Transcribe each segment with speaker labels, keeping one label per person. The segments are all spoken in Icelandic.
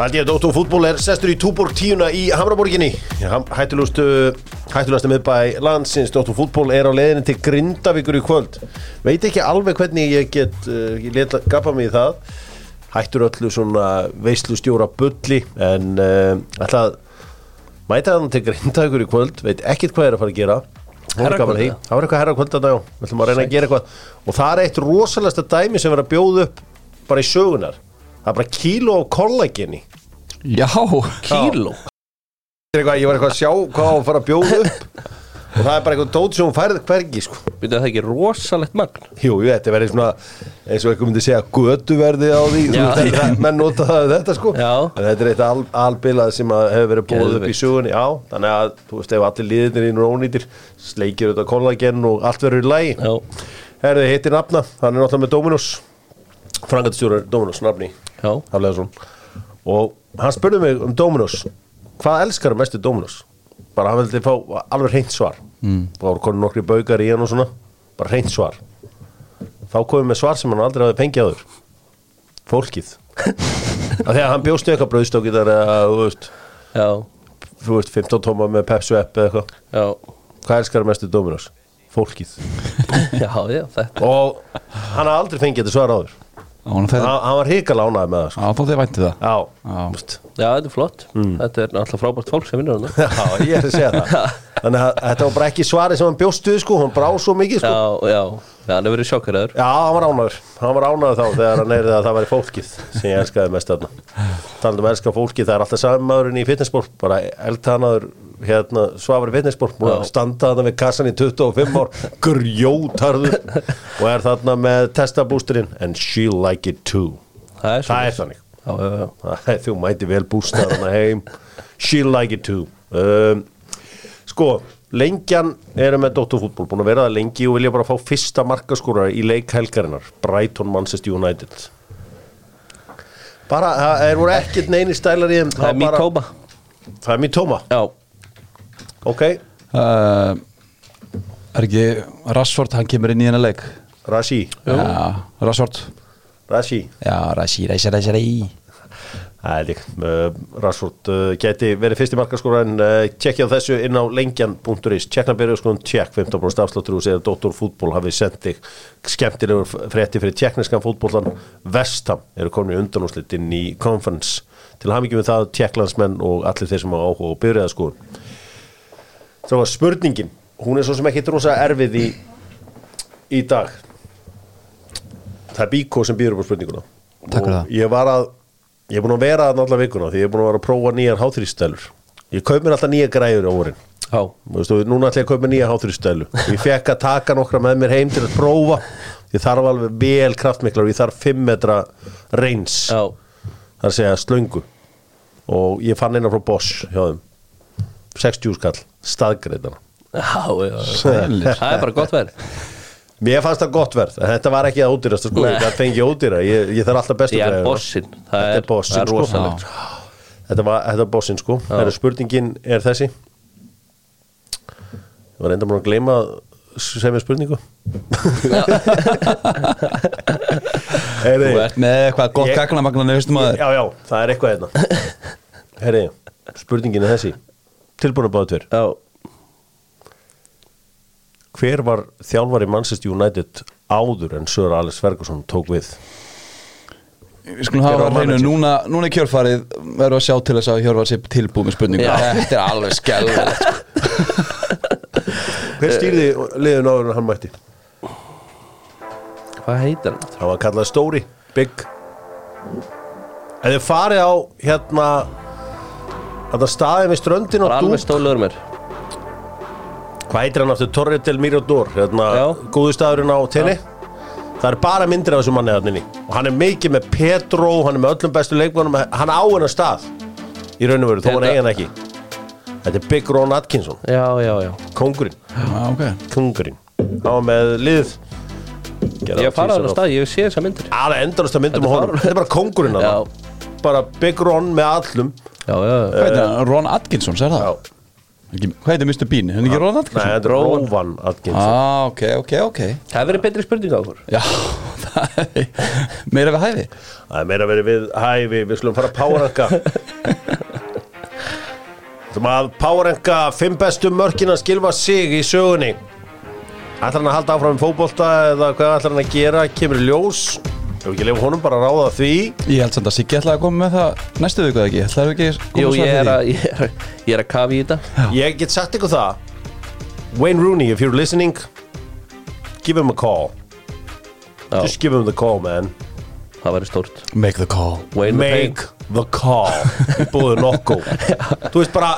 Speaker 1: Allt ég að Dóttó fútból er sestur í túborg tíuna í Hamraborginni Hættulegustu, hættulegustu miðbæ landsins Dóttó fútból er á leiðinni til Grindavíkur í kvöld Veit ekki alveg hvernig ég get uh, ég let gapa mig í það Hættur öllu svona veislustjóra bulli En uh, ætla að mæta hann til Grindavíkur í kvöld Veit ekkit hvað er að fara að gera Það var gaman að því.
Speaker 2: Herrakvöld,
Speaker 1: Það var eitthvað herra kvöld að dag Við ætlum að reyna að gera eitthvað Og það er eitt rosalasta dæmi sem verður að bjóða upp Bara í sögunar Það er bara kíló á kollageni
Speaker 2: Já, kíló
Speaker 1: Ég var eitthvað að sjá hvað á að fara að bjóða upp Og það er bara eitthvað dót sem hún færð hvergi sko.
Speaker 2: Við það ekki rosalegt magn
Speaker 1: Jú, jú, þetta verður svona eins og eitthvað myndi segja götuverði á því Þú
Speaker 2: Já.
Speaker 1: veist, þetta- menn nota það þetta sko
Speaker 2: Já.
Speaker 1: en þetta er eitt al, albilað sem að hefur verið búið upp í
Speaker 2: Geðveikt.
Speaker 1: sögunni já, þannig að þú veist ef allir liðinir inn og ónýtir sleikir auðvitað kollagen og allt verður í lagi
Speaker 2: Já.
Speaker 1: Herði, hittir nafna, hann er náttúrulega með Dominus Frangatistjórar Dominus, nafni
Speaker 2: Já.
Speaker 1: Hafleðarsson Og hann spurði mig um Dominus Hvað elskar mestu Dominus? Bara hann vildi fá alveg reynt svar mm. Það voru konur nokkri baukar í hann og svona Bara reynt svar Þá komum við svar sem hann aldrei hafði fengið áður Fólkið Af því að hann bjóst við eitthvað brauðstókitar eða, þú veist,
Speaker 2: Já,
Speaker 1: þú veist, 15 tóma með Pepsi App eða eitthvað
Speaker 2: já,
Speaker 1: Hvað elskar mestu Dominus? Fólkið
Speaker 2: já, já, þetta
Speaker 1: og hann hafði aldrei fengið þetta svar áður
Speaker 3: Hún
Speaker 1: hann,
Speaker 3: þegar
Speaker 1: hann var hrikala ánæði með það sko.
Speaker 3: Á, þá þið vænti það
Speaker 1: já,
Speaker 3: Já.
Speaker 1: þú veist.
Speaker 2: Já, þetta er flott
Speaker 1: Mm.
Speaker 2: Þetta er náttúrulega frábært fólk sem vinnur hann
Speaker 1: já, ég er að segja það þannig að þetta var bara ekki svarið sem hann bjóstu sko, hann brá svo mikið sko. já.
Speaker 2: Já, já, já, hann hefur verið sjokkaraður
Speaker 1: hann var ánæður hann var ánæður þá þegar hann eyrði að það væri fólkið sem ég elskaði mest þarna talandum að elska fólkið, það er alltaf samanmaðurinn í fitnessból bara eldhanaður hérna, svafur í fitnessból, búin að
Speaker 2: Já.
Speaker 1: standa þarna við kassan í 25 ár, grjótarður og er þarna með testabústurinn and she like it too
Speaker 2: Það
Speaker 1: það
Speaker 2: er svona
Speaker 1: er þannig
Speaker 2: Já, já, já
Speaker 1: Æ, Þú mæti vel bústað hana heim She like it too um, Sko, lengjan eru með Dóttarfútból, búin að vera það lengi og vilja bara fá fyrsta markaskóra í leik helgarinnar Brighton Manchester United Bara, það er voru ekkert neini stælar í þeim
Speaker 2: Það er
Speaker 1: var bara-
Speaker 2: mýtópa
Speaker 1: Það er mítóma,
Speaker 2: Já,
Speaker 1: ok
Speaker 3: uh, Er ekki Rashford, hann kemur inn í hennar leik
Speaker 1: Rashi,
Speaker 3: Já, Rashford
Speaker 1: Rashi
Speaker 3: Já, Rashi, Rashi, Rashi, Rashi
Speaker 1: Það er líkt, uh, Rashford uh, geti verið fyrst í markaskóra en uh, tjekkja á þessu inn á lengjan.is tjekknabyrðu skoðum tjekk 15% afsláttur úr segja Dóttor fútból hafið sendið skemmtilegur frétti fyrir tjekkneskan fútbólan Vestam eru komin í undanúslit inn í conference til hamingjum við það tjekklandsmenn og allir þeir sem hafa áhuga og byrjaða skoðum þá var spurningin hún er svo sem ekki rosa erfið í, í dag það er Bíko sem býður upp á spurninguna
Speaker 3: Takk fyrir
Speaker 1: Og
Speaker 3: það.
Speaker 1: ég var að ég er búin að vera þarna alla vikuna því ég er búin að vera að prófa nýjar háþrýstælur ég kaup mér alltaf nýja græður á vorin
Speaker 2: já,
Speaker 1: Þú veist, og núna ætla ég að kaupa mér nýja háþrýstælu ég fekk að taka nokkra með mér heim til að prófa ég þarf alveg vel kraftmiklar og ég þarf 5 metra reyns
Speaker 2: já
Speaker 1: það er að segja slöngu og ég fann eina frá Bosch hjá þeim 60 skall, staðgreitana
Speaker 2: Já, já, já Það er bara gott verð
Speaker 1: Mér fannst það gott verð, en þetta var ekki það ódýrasta sko,
Speaker 2: Nei.
Speaker 1: það fengi ódýra, ég, ég þarf alltaf bestu
Speaker 2: Ég er
Speaker 1: græjuna.
Speaker 2: bossinn Það
Speaker 1: Þetta er
Speaker 2: er,
Speaker 1: bossinn,
Speaker 2: það er
Speaker 1: sko.
Speaker 2: rosalegt
Speaker 1: Þetta var, þetta var bossinn sko, það eru spurningin er þessi Ég var enda múin að gleyma að segja mér spurningu Heyri,
Speaker 3: Þú ert með eitthvað gott
Speaker 1: Ég-
Speaker 3: gagnamagnan Þú veistum maður
Speaker 1: Já, já, það er eitthvað hérna Heyri, spurningin er þessi Tilbúinu báðu tver
Speaker 2: Já,
Speaker 1: Hver var þjálfari Manchester United áður en Sör Alex Ferguson tók við?
Speaker 3: Við skulum hafa
Speaker 1: Hver var
Speaker 3: það á hreinu
Speaker 1: manager?
Speaker 3: Núna, núna í kjörfarið verður að sjá til þess að Hjörvar sé tilbúið með spurningu
Speaker 2: Já.
Speaker 3: Þetta er alveg skelvilegt sko.
Speaker 1: Hver stýrði liðun áður en hann mætti?
Speaker 2: hvað heitir hann?
Speaker 1: Það var kallað Stóri, Big Ef þið farið á hérna Þetta staðið við ströndin og
Speaker 2: Það er alveg
Speaker 1: dúk
Speaker 2: stóluður mér
Speaker 1: Hvað heitir hann aftur? Torre del Mirador hérna,
Speaker 2: Já.
Speaker 1: Góðu staðurinn á tenni Það er bara myndir af þessu manni þarna inni Og hann er mikið með Petro Hann er með öllum bestu leikmannum Hann á hennar stað Í raun og veru, þó hann
Speaker 2: Þetta-
Speaker 1: eigi hann ekki Þetta er Big Ron Atkinson,
Speaker 2: Já, já, já
Speaker 1: kongurinn
Speaker 3: Já, ok
Speaker 1: Kongurinn Hann var með lið Gerði
Speaker 2: Ég fara
Speaker 1: tvisvar
Speaker 2: á þennan
Speaker 1: oft.
Speaker 2: stað, ég sé þessar myndir
Speaker 1: aðra endanast að myndum á
Speaker 2: Þetta er
Speaker 1: honum
Speaker 2: bara-
Speaker 1: þetta er bara kongurinn að
Speaker 2: Já.
Speaker 1: það bara Big Ron með allum nei,
Speaker 2: Já, já, já
Speaker 3: Hvað heitir hann? Ron Atkinson, sér það? Ekki- Hvað heitir Mr. Bean? Er hann ekki Ron Atkinson?
Speaker 1: þetta er Róvan Atkinson
Speaker 3: ah, ok, ok, ok
Speaker 2: Það hefur verið betri spurning á okkur
Speaker 3: Já, það meira við hæfi
Speaker 1: Það er meira verið við hæfi, við skulum fara að páranka Þú ætlum að páranka fimm bestu mörkin að skilfa sig í sögunni Ætlar hann að halda áfram í fótbolta eða hvað ætlar hann að gera, kemur í ljós Ef ekki lefa honum bara að ráða því
Speaker 3: Ég held samt að Siggi ætlaði að koma með það næstu viku eða ekki, ætlaði ekki að koma
Speaker 2: Jú,
Speaker 3: svo
Speaker 2: ég
Speaker 3: að
Speaker 2: er,
Speaker 3: því?
Speaker 2: að, ég, er, að- ég er að kafi í þetta
Speaker 1: Ég get sagt ykkur það Wayne Rooney, if you're listening Give him a call
Speaker 2: Já.
Speaker 1: Just give him the call, man
Speaker 2: Það væri stórt
Speaker 3: Make the call
Speaker 2: Wayne the
Speaker 1: Make the call Í búðu nokku Þú veist bara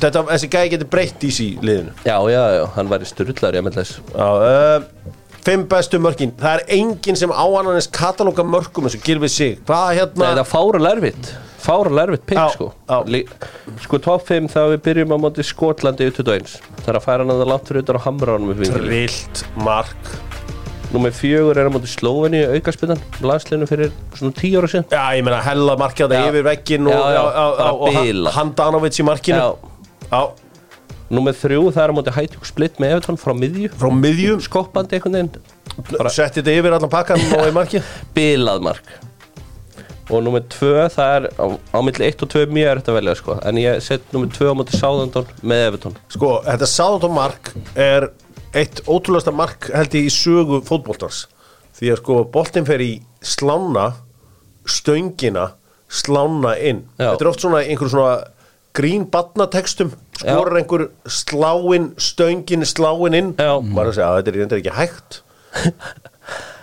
Speaker 1: Þetta, þessi gæði getur breytt í sí liðinu
Speaker 2: Pain. Já, já, já, hann væri styrlar ég með þess
Speaker 1: Já, uh, Fimm bestu mörkin Það er enginn sem áananins katalóga mörkum eins og gilfi sig Hvað
Speaker 2: Nei,
Speaker 1: hérna
Speaker 2: það er fáralerfitt Fáralerfitt pikk,
Speaker 1: Já,
Speaker 2: sko
Speaker 1: já.
Speaker 2: Lí, Sko, top 5 þegar við byrjum á móti Skotlandi í 21 Það er að færa hann að það langt fyrir utan á hamránum við vingil
Speaker 1: Trillt mark
Speaker 2: Númer fjögur er á móti Slóveni aukaspinnan Landsleinu fyrir svona 10 ára síðan
Speaker 1: Já, ég meina hella markið þetta
Speaker 2: Já.
Speaker 1: yfir veggin og,
Speaker 2: Já, já,
Speaker 1: og, og,
Speaker 2: bara
Speaker 1: og, og
Speaker 2: bila.
Speaker 1: Han- hann Danovits í markinu
Speaker 2: Já.
Speaker 1: Já,
Speaker 2: Númer þrjú, það er á móti Hætjúk Splitt með Evertón frá miðju
Speaker 1: frá miðjum
Speaker 2: Skoppandi einhvern veginn bara
Speaker 1: Setti þetta yfir allan pakkan og í markið
Speaker 2: bilað mark Og númer tvö, það er á, á milli 1 og 2 mjög er þetta velja, sko En ég set númer tvö á móti Sáðandón með Evertón
Speaker 1: Sko, þetta Sáðantón mark er eitt ótrúlegasta mark held ég í sögu fótboltans því að sko boltinn fer í slána stöngina slána inn
Speaker 2: Já.
Speaker 1: þetta er oft svona einhver svona grín batnatextum skorar einhver sláin stöngin sláin inn
Speaker 2: Já.
Speaker 1: maður er að segja að þetta er reyndar ekki hægt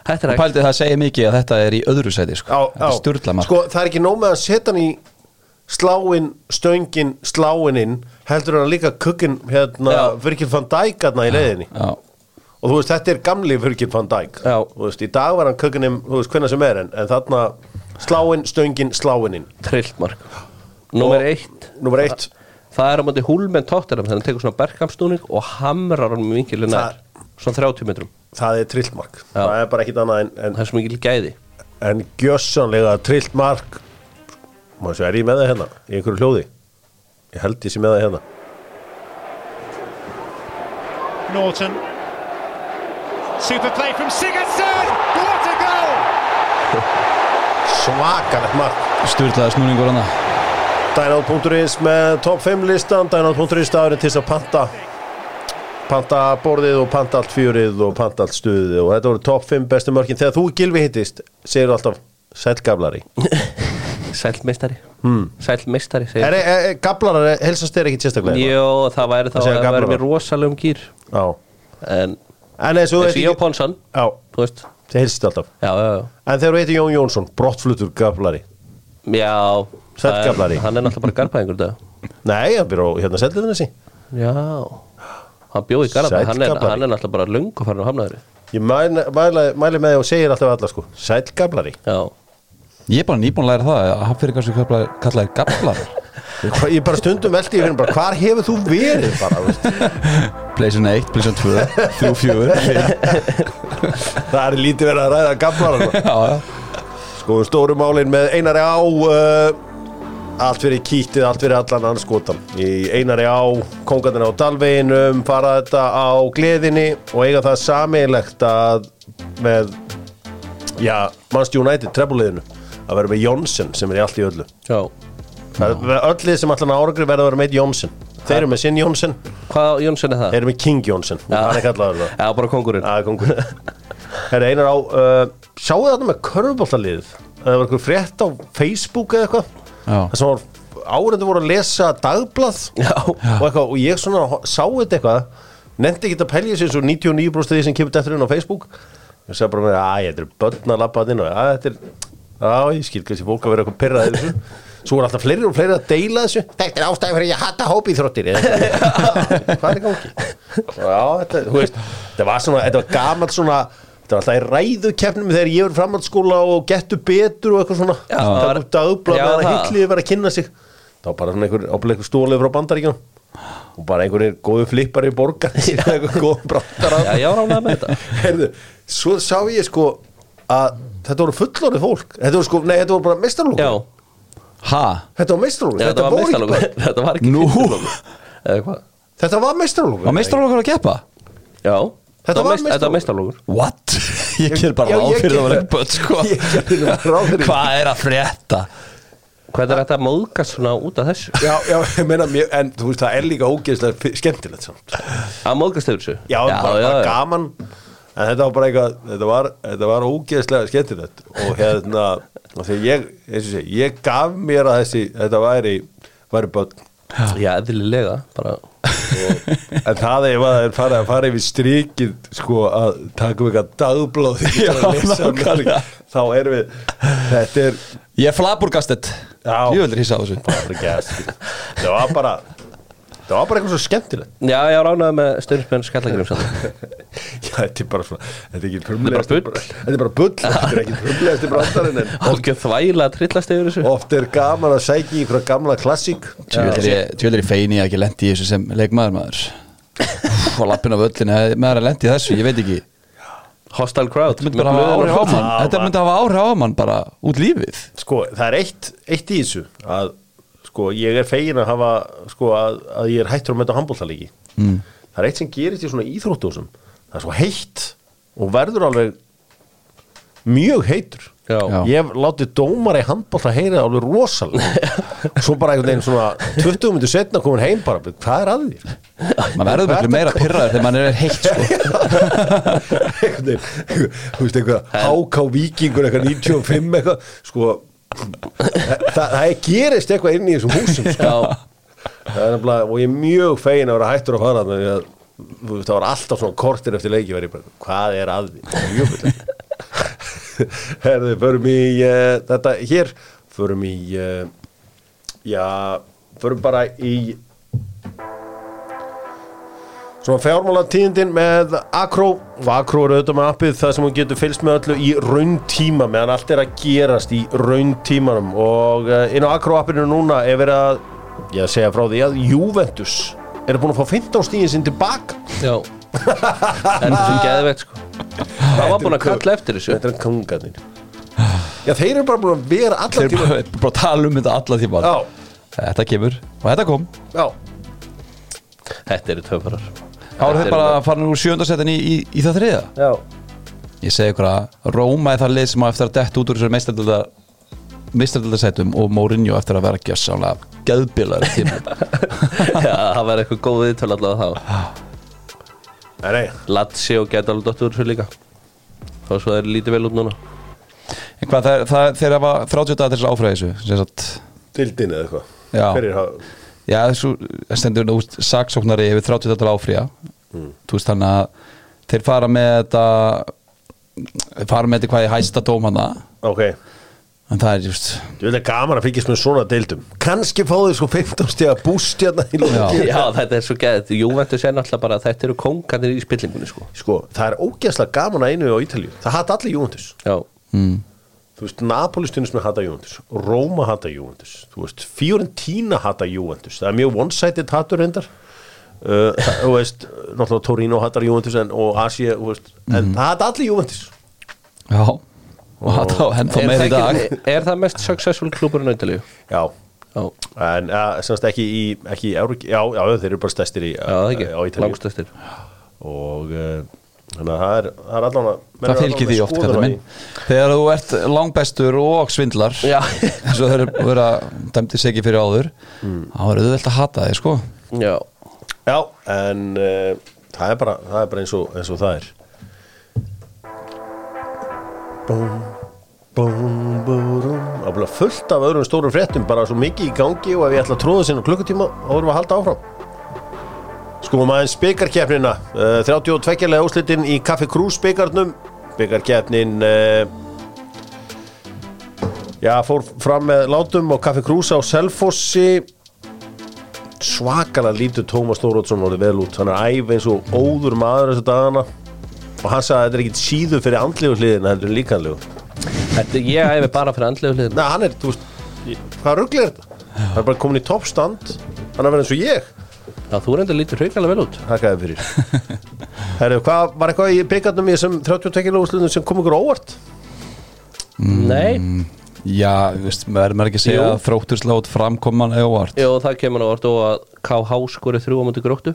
Speaker 2: Þetta er
Speaker 3: Og pældi það að segja mikið að þetta er í öðru sæti sko.
Speaker 1: á, á.
Speaker 3: Þetta er styrla mark
Speaker 1: sko það er ekki nóg með að setja hann í sláin stöngin sláin inn heldur hann líka kukkin hérna
Speaker 2: Já.
Speaker 1: virkil fann dækarna í leiðinni
Speaker 3: Já.
Speaker 1: Og þú veist, þetta er gamli Virgil van Dijk
Speaker 2: Já.
Speaker 1: Þú veist, í dag var hann kökunum, þú veist, hvenna sem er En, en þarna sláinn, stöngin, sláinninn
Speaker 2: trillt mark Númer
Speaker 1: Og-
Speaker 2: eitt
Speaker 1: Númer eitt
Speaker 2: Það er á móti húlmenn tóttirum Þannig að hann tekur svona bergkampsnúning og hamrar hann með vinkilin nær Svona 30 metrum
Speaker 1: Það er trilltmark Það er bara ekkit annað en, en,
Speaker 2: Það er svo mikil gæði
Speaker 1: en gjössanlega trilltmark Má þessu, er ég með það hérna? Í einhverju hljóði? Ég held ég sé með það hérna
Speaker 4: Norton. Super play from Sigurdsson! What a goal!
Speaker 1: Svakalegt mark
Speaker 3: Sturlaði snúningur hana
Speaker 1: Dynote.is með top 5 listan Dynote.is staðurinn til þess að panta panta borðið og panta allt fjörið og panta allt stuðið og þetta voru top 5 bestu mörkin þegar þú gilvi hittist segir alltaf sælgaflari
Speaker 2: Sælmeistari hmm. Sælmeistari segir
Speaker 1: er, er, er, gaflarar er- heilsast þér ekki sérstaklega
Speaker 2: Jó, það væri þá
Speaker 1: Það segja
Speaker 2: Það væri
Speaker 1: gamlar.
Speaker 2: mér rosalegum gýr
Speaker 1: Já.
Speaker 2: En
Speaker 1: en eins og þú
Speaker 2: eins og ég og
Speaker 1: heitir
Speaker 2: Ponsan
Speaker 1: Já,
Speaker 2: Þú veist
Speaker 1: þið heilsast alltaf
Speaker 2: Já, já, já
Speaker 1: en þegar þú heitir Jón Jónsson, brottflutur gaflari
Speaker 2: Já
Speaker 1: Sæll
Speaker 2: það er-
Speaker 1: gamlari.
Speaker 2: Hann er náttúrulega bara garpaðingur dag
Speaker 1: nei, hann byrja á hérna sælgaflari
Speaker 2: Já Hann bjóð í
Speaker 1: Sæll
Speaker 2: garpað hann, er-
Speaker 1: gamlari.
Speaker 2: hann er náttúrulega bara löngu farin á hamnaðri
Speaker 1: ég mæli, mæli, mæli með því og segir alltaf alla sko sælgaflari
Speaker 2: Já
Speaker 3: Ég er bara nýbúin að læra það að hann fyrir kannski kallaði, kallaði gaflar
Speaker 1: ég bara stundum veldi, ég finn bara hvar hefur þú verið bara, þú veist
Speaker 3: Playsun 1, Playsun 2, 3, 4
Speaker 1: Það er lítið verið að ræða gamlar
Speaker 3: Já,
Speaker 1: Sko, stóru málin með Einari Á uh, Allt fyrir kýttið, allt fyrir allan annars skotan Í Einari Á, kongarnir á Dalveginum Fara þetta á gleðinni Og eiga það sameigilegt að Með Já, Manchester United, trefbúliðinu Að vera með Jónsson sem er í allt í öllu
Speaker 2: Já
Speaker 1: Það er- Öll lið sem allan árangri verða að vera með Jónsson Þeir eru með sinn Jónsson,
Speaker 2: Hvað Jónsson er það?
Speaker 1: þeir eru með King Jónsson Hann er Ah. kallaður það
Speaker 2: Já, bara kongurinn
Speaker 1: Það er kongur Það er einar á uh, Sjáu þarna með körfuboltaliðið Það var einhver frétt á Facebook eða eitthvað
Speaker 3: Já.
Speaker 1: Það sem var árendu voru að lesa dagblað
Speaker 2: Já.
Speaker 1: Og, eitthvað, og ég svona ho- sá þetta eitthvað Nefndi ekki að pelja sér svo 99% af því sem kemur þetta inn á Facebook Ég sagði bara með að þetta eru börn að labba þarna inn og að þetta er Já, ég skil kannski fólk að vera eitthvað pyrrað þessu Svo voru alltaf fleiri og fleiri að deila þessu Þetta er ástæði fyrir að ég hata hópi í þróttir Hvað er í gangi? Já, þetta, þú veist Þetta var svona, þetta var gamalt svona Þetta var alltaf í ræðukefnum þegar ég var framhaldsskóla og gettu betur og eitthvað svona
Speaker 2: Já,
Speaker 1: Það
Speaker 2: það
Speaker 1: var
Speaker 2: var-
Speaker 1: út að upplað
Speaker 2: Já,
Speaker 1: með að
Speaker 2: það.
Speaker 1: hyggliði vera að kynna sig Það var bara svona einhver, ábúinlega einhver stólið frá bandaríkjum og bara einhverjir góðu flippari borgar einhver góðu brandar
Speaker 2: Já, ég var ánægð með þetta.
Speaker 1: Heyrðu, svo sá ég sko að þetta voru fullorðið fólk þetta voru sko, nei, þetta voru bara meistarlókur
Speaker 2: Já
Speaker 3: Ha?
Speaker 1: Þetta var meistarlókur,
Speaker 2: Já, þetta var
Speaker 1: ekki
Speaker 2: meistarlokkur
Speaker 1: bara-
Speaker 2: Þetta var ekki
Speaker 3: Nú.
Speaker 2: meistarlokkur Eða hvað?
Speaker 1: Þetta var meistarlókur
Speaker 3: Var meistarlokkur að keppa?
Speaker 2: Já
Speaker 1: Þetta var
Speaker 2: meist- Þetta var meistarlokkur
Speaker 3: What? Ég ger bara
Speaker 1: Já,
Speaker 3: ráð
Speaker 1: ég ger-
Speaker 3: fyrir það var ekki börn sko
Speaker 1: Ég gerði nú bara ráð fyrir því.
Speaker 3: Hvað er að frétta?
Speaker 2: Hvað er þetta að móðgast svona út af þessu?
Speaker 1: Já, já, ég meina, mér, en þú veist, það er líka ógeðslega fi- skemmtilegt samt.
Speaker 2: Að móðgast yfir þessu?
Speaker 1: Já, bara, bara gaman, en þetta var bara eitthvað, þetta var, þetta var ógeðslega skemmtilegt og hérna, og þegar ég, eins og sé, ég gaf mér að þessi, þetta væri, væri börn,
Speaker 2: Já, eðlilega, bara
Speaker 1: og, en það ef að það er farið að fara yfir strikið, sko, að taka um eitthvað dagblóð í
Speaker 3: Já,
Speaker 1: að lesa um
Speaker 3: nákvæmlega.
Speaker 1: það, þá erum við, þetta er,
Speaker 3: Ég er flaburgastet
Speaker 1: Já.
Speaker 3: Ég vildir hissa á þessu
Speaker 1: það var ekki að, það var bara, það var bara eitthvað svo skemmtilegt.
Speaker 2: Já, ég ránaði með stjórnismenn Skallagrims
Speaker 1: Já, þetta er bara svona, þetta er ekki
Speaker 2: Þetta er bara
Speaker 1: frumlegast Þetta er bara bull, þetta er ekki frumlegast í brandarinn en
Speaker 2: Algjör þvæla að trillast yfir þessu
Speaker 1: oft er gaman að sækja í frá gamla klassík
Speaker 3: Tjóðlir ég feini að ekki lendi í þessu sem leikmaður maður Úff, Og lappin á völlinu hefði maður að lendi í þessu, ég veit ekki
Speaker 2: Hostile crowd
Speaker 3: Myndi bara hafa áhrif á
Speaker 1: fólk.
Speaker 3: mann
Speaker 1: Já,
Speaker 3: Þetta
Speaker 1: maður.
Speaker 3: myndi hafa áhrif á mann bara út lífið
Speaker 1: Sko, það er eitt, eitt í þessu að sko, ég er fegin að hafa sko, að, að ég er hættur að mæta handbóltalegi mm. Það er eitt sem gerist í svona íþróttósum Það er svo heitt og verður alveg mjög heitur
Speaker 2: Já.
Speaker 3: Já.
Speaker 1: Ég hef látið dómar í handbólta heyra alveg rosalega Svo bara einhvern veginn svona 20 minntu setna komin heim bara Hvað er að þér?
Speaker 3: Maður verður miklu meira pyrraður þegar maður er heitt sko
Speaker 1: einhvern veginn, þú veist eitthvað háká vikingur eitthvað 95 eitthvað sko það, það, það gerist eitthvað inn í þessum húsum sko.
Speaker 2: Já,
Speaker 1: það er nefnilega, og ég er mjög fegin að vera hættur að fara þarna, því að, þú veist, það var alltaf svona kortir eftir leiki var ég bara, hvað er að því herðu, förum í uh, þetta hér, förum í uh, já förum bara í Svona fjármála tíðindin með Akro og Akro er auðvitað með appið það sem hún getur fylgst með öllu í raun tíma meðan allt er að gerast í raun tímanum og eh, inn á Akro appinu núna er verið að, ég segja frá því að Juventus er búin að fá 15 stíðin sinn tilbaka
Speaker 2: já En þessum geðvegt sko Það var búin að kalla eftir þessu
Speaker 1: Þetta er kongarnir Já, þeir eru bara búin að vera
Speaker 3: Þeir
Speaker 1: allan
Speaker 3: eru
Speaker 1: tíma
Speaker 3: bara, bara að tala um þetta alla tíma
Speaker 1: Já,
Speaker 3: Þetta kemur og þetta kom
Speaker 1: já
Speaker 2: Þetta eru töfarar
Speaker 3: Þá eru þeir bara að fara úr sjöndarsetin í, í, í það þriða
Speaker 1: Já,
Speaker 3: Ég segi ykkur að Róma er það lið sem á eftir að dett út úr þessari meistardölda meistardöldasætum og Mourinho eftir að vera gjössamlega gæðbilar
Speaker 2: Já, það var eitthvað góð viðtöl allavega þá
Speaker 1: nei, nei
Speaker 2: Latsi og geta alveg dottur þessu líka Þá svo það er lítið vel út núna
Speaker 3: En hvað það, það þeirra var 30 dagar til þess að áfræða þessu sem sagt,
Speaker 1: Dildin eða eitthvað
Speaker 3: Já.
Speaker 1: Hverjir hafa
Speaker 3: Já, þessu stendur nú úst, saksóknari yfir 30 dagar til að áfræða þú veist þannig að þeir fara með þetta fara með þetta hvað ég hæsta dóm hana
Speaker 1: Ok,
Speaker 3: en það er just
Speaker 1: þú veit að gaman að fylgjast með svona dildum Kanski fá þau sko 15 stíða búst hérna í lokin.
Speaker 2: Já, þetta er svo geðvegt Júventus er náttúrulega bara Þetta eru kongarnir í spillingunni sko
Speaker 1: sko, það er ógeðslega gaman að einu á Ítalíu það hata allir Júventus
Speaker 2: Já,
Speaker 1: þú veist, Napoli stundismi hata Júventus Róma hata Júventus þú veist, Fiorentina hata Júventus það er mjög one-sided hatur reyndar uh, það- þú veist, náttúrulega Torino hatar Júventus en, og Asia, þú veist
Speaker 3: Mhm.
Speaker 1: en það hata allir Júventus
Speaker 3: Já, og það er ennþá
Speaker 2: er,
Speaker 3: meir í
Speaker 2: það
Speaker 3: dag
Speaker 2: ekki, er það mest successful klubur í Ítalíu?
Speaker 1: já,
Speaker 2: Já,
Speaker 1: en uh, semst ekki í, ekki í Eurók, já, já, þeir eru bara stæstir í,
Speaker 2: já það ekki,
Speaker 1: á Ítalíu
Speaker 2: langstæstir
Speaker 1: og uh, þannig að það er, það er allan að menn eru
Speaker 3: Það fylgir
Speaker 1: allavega
Speaker 3: því oft,
Speaker 1: skoðun á
Speaker 3: kallar minn
Speaker 1: því.
Speaker 3: Þegar þú ert langbestur og svindlar
Speaker 2: Já.
Speaker 3: eins og þau eru vera dæmdi segi fyrir áður þá er auðvelt að hata þig sko
Speaker 2: Já,
Speaker 1: Já, en uh, það, er bara, það er bara eins og, eins og það er Búm, búm, búrum Það er bara fullt af öðrum stórum fréttum bara svo mikið í gangi og ef ég ætla að tróða sinna klukkutíma þá vorum við að halda áfram Skoðum aðeins byggarkeppnina uh, 32. lega úrslitin í Kaffi Krús byggarnum Byggarkeppnin uh, Já, fór fram með látum og Kaffi Krús á Selfossi svakalega lítur Tómas Þórótsson orðið vel út, hann er æf eins og óður maður þessu dagana og hann sagði að þetta er ekkit síður fyrir andlegu hliðina heldur en líkanlegu.
Speaker 2: þetta, ég æfi bara fyrir andlegu hliðin
Speaker 1: Nei, hann er, þú veist, ég- hvað ruggli er þetta? Hann er bara komin í toppstand hann er verið eins og ég,
Speaker 2: Já, þú reyndir lítið hrikalega vel út
Speaker 1: hakaði fyrir Herru, hvað var eitthvað í byggarnum í þessum 32 lóðslunum sem kom ykkur á óvart?
Speaker 2: Mm. Nei,
Speaker 3: Já, þú veist, maður verður maður ekki að segja
Speaker 2: Jú.
Speaker 3: að þróttur slátt framkoman eða óvart
Speaker 2: jú, það kemur á orð og að KH skorið þrjú á múti gróttu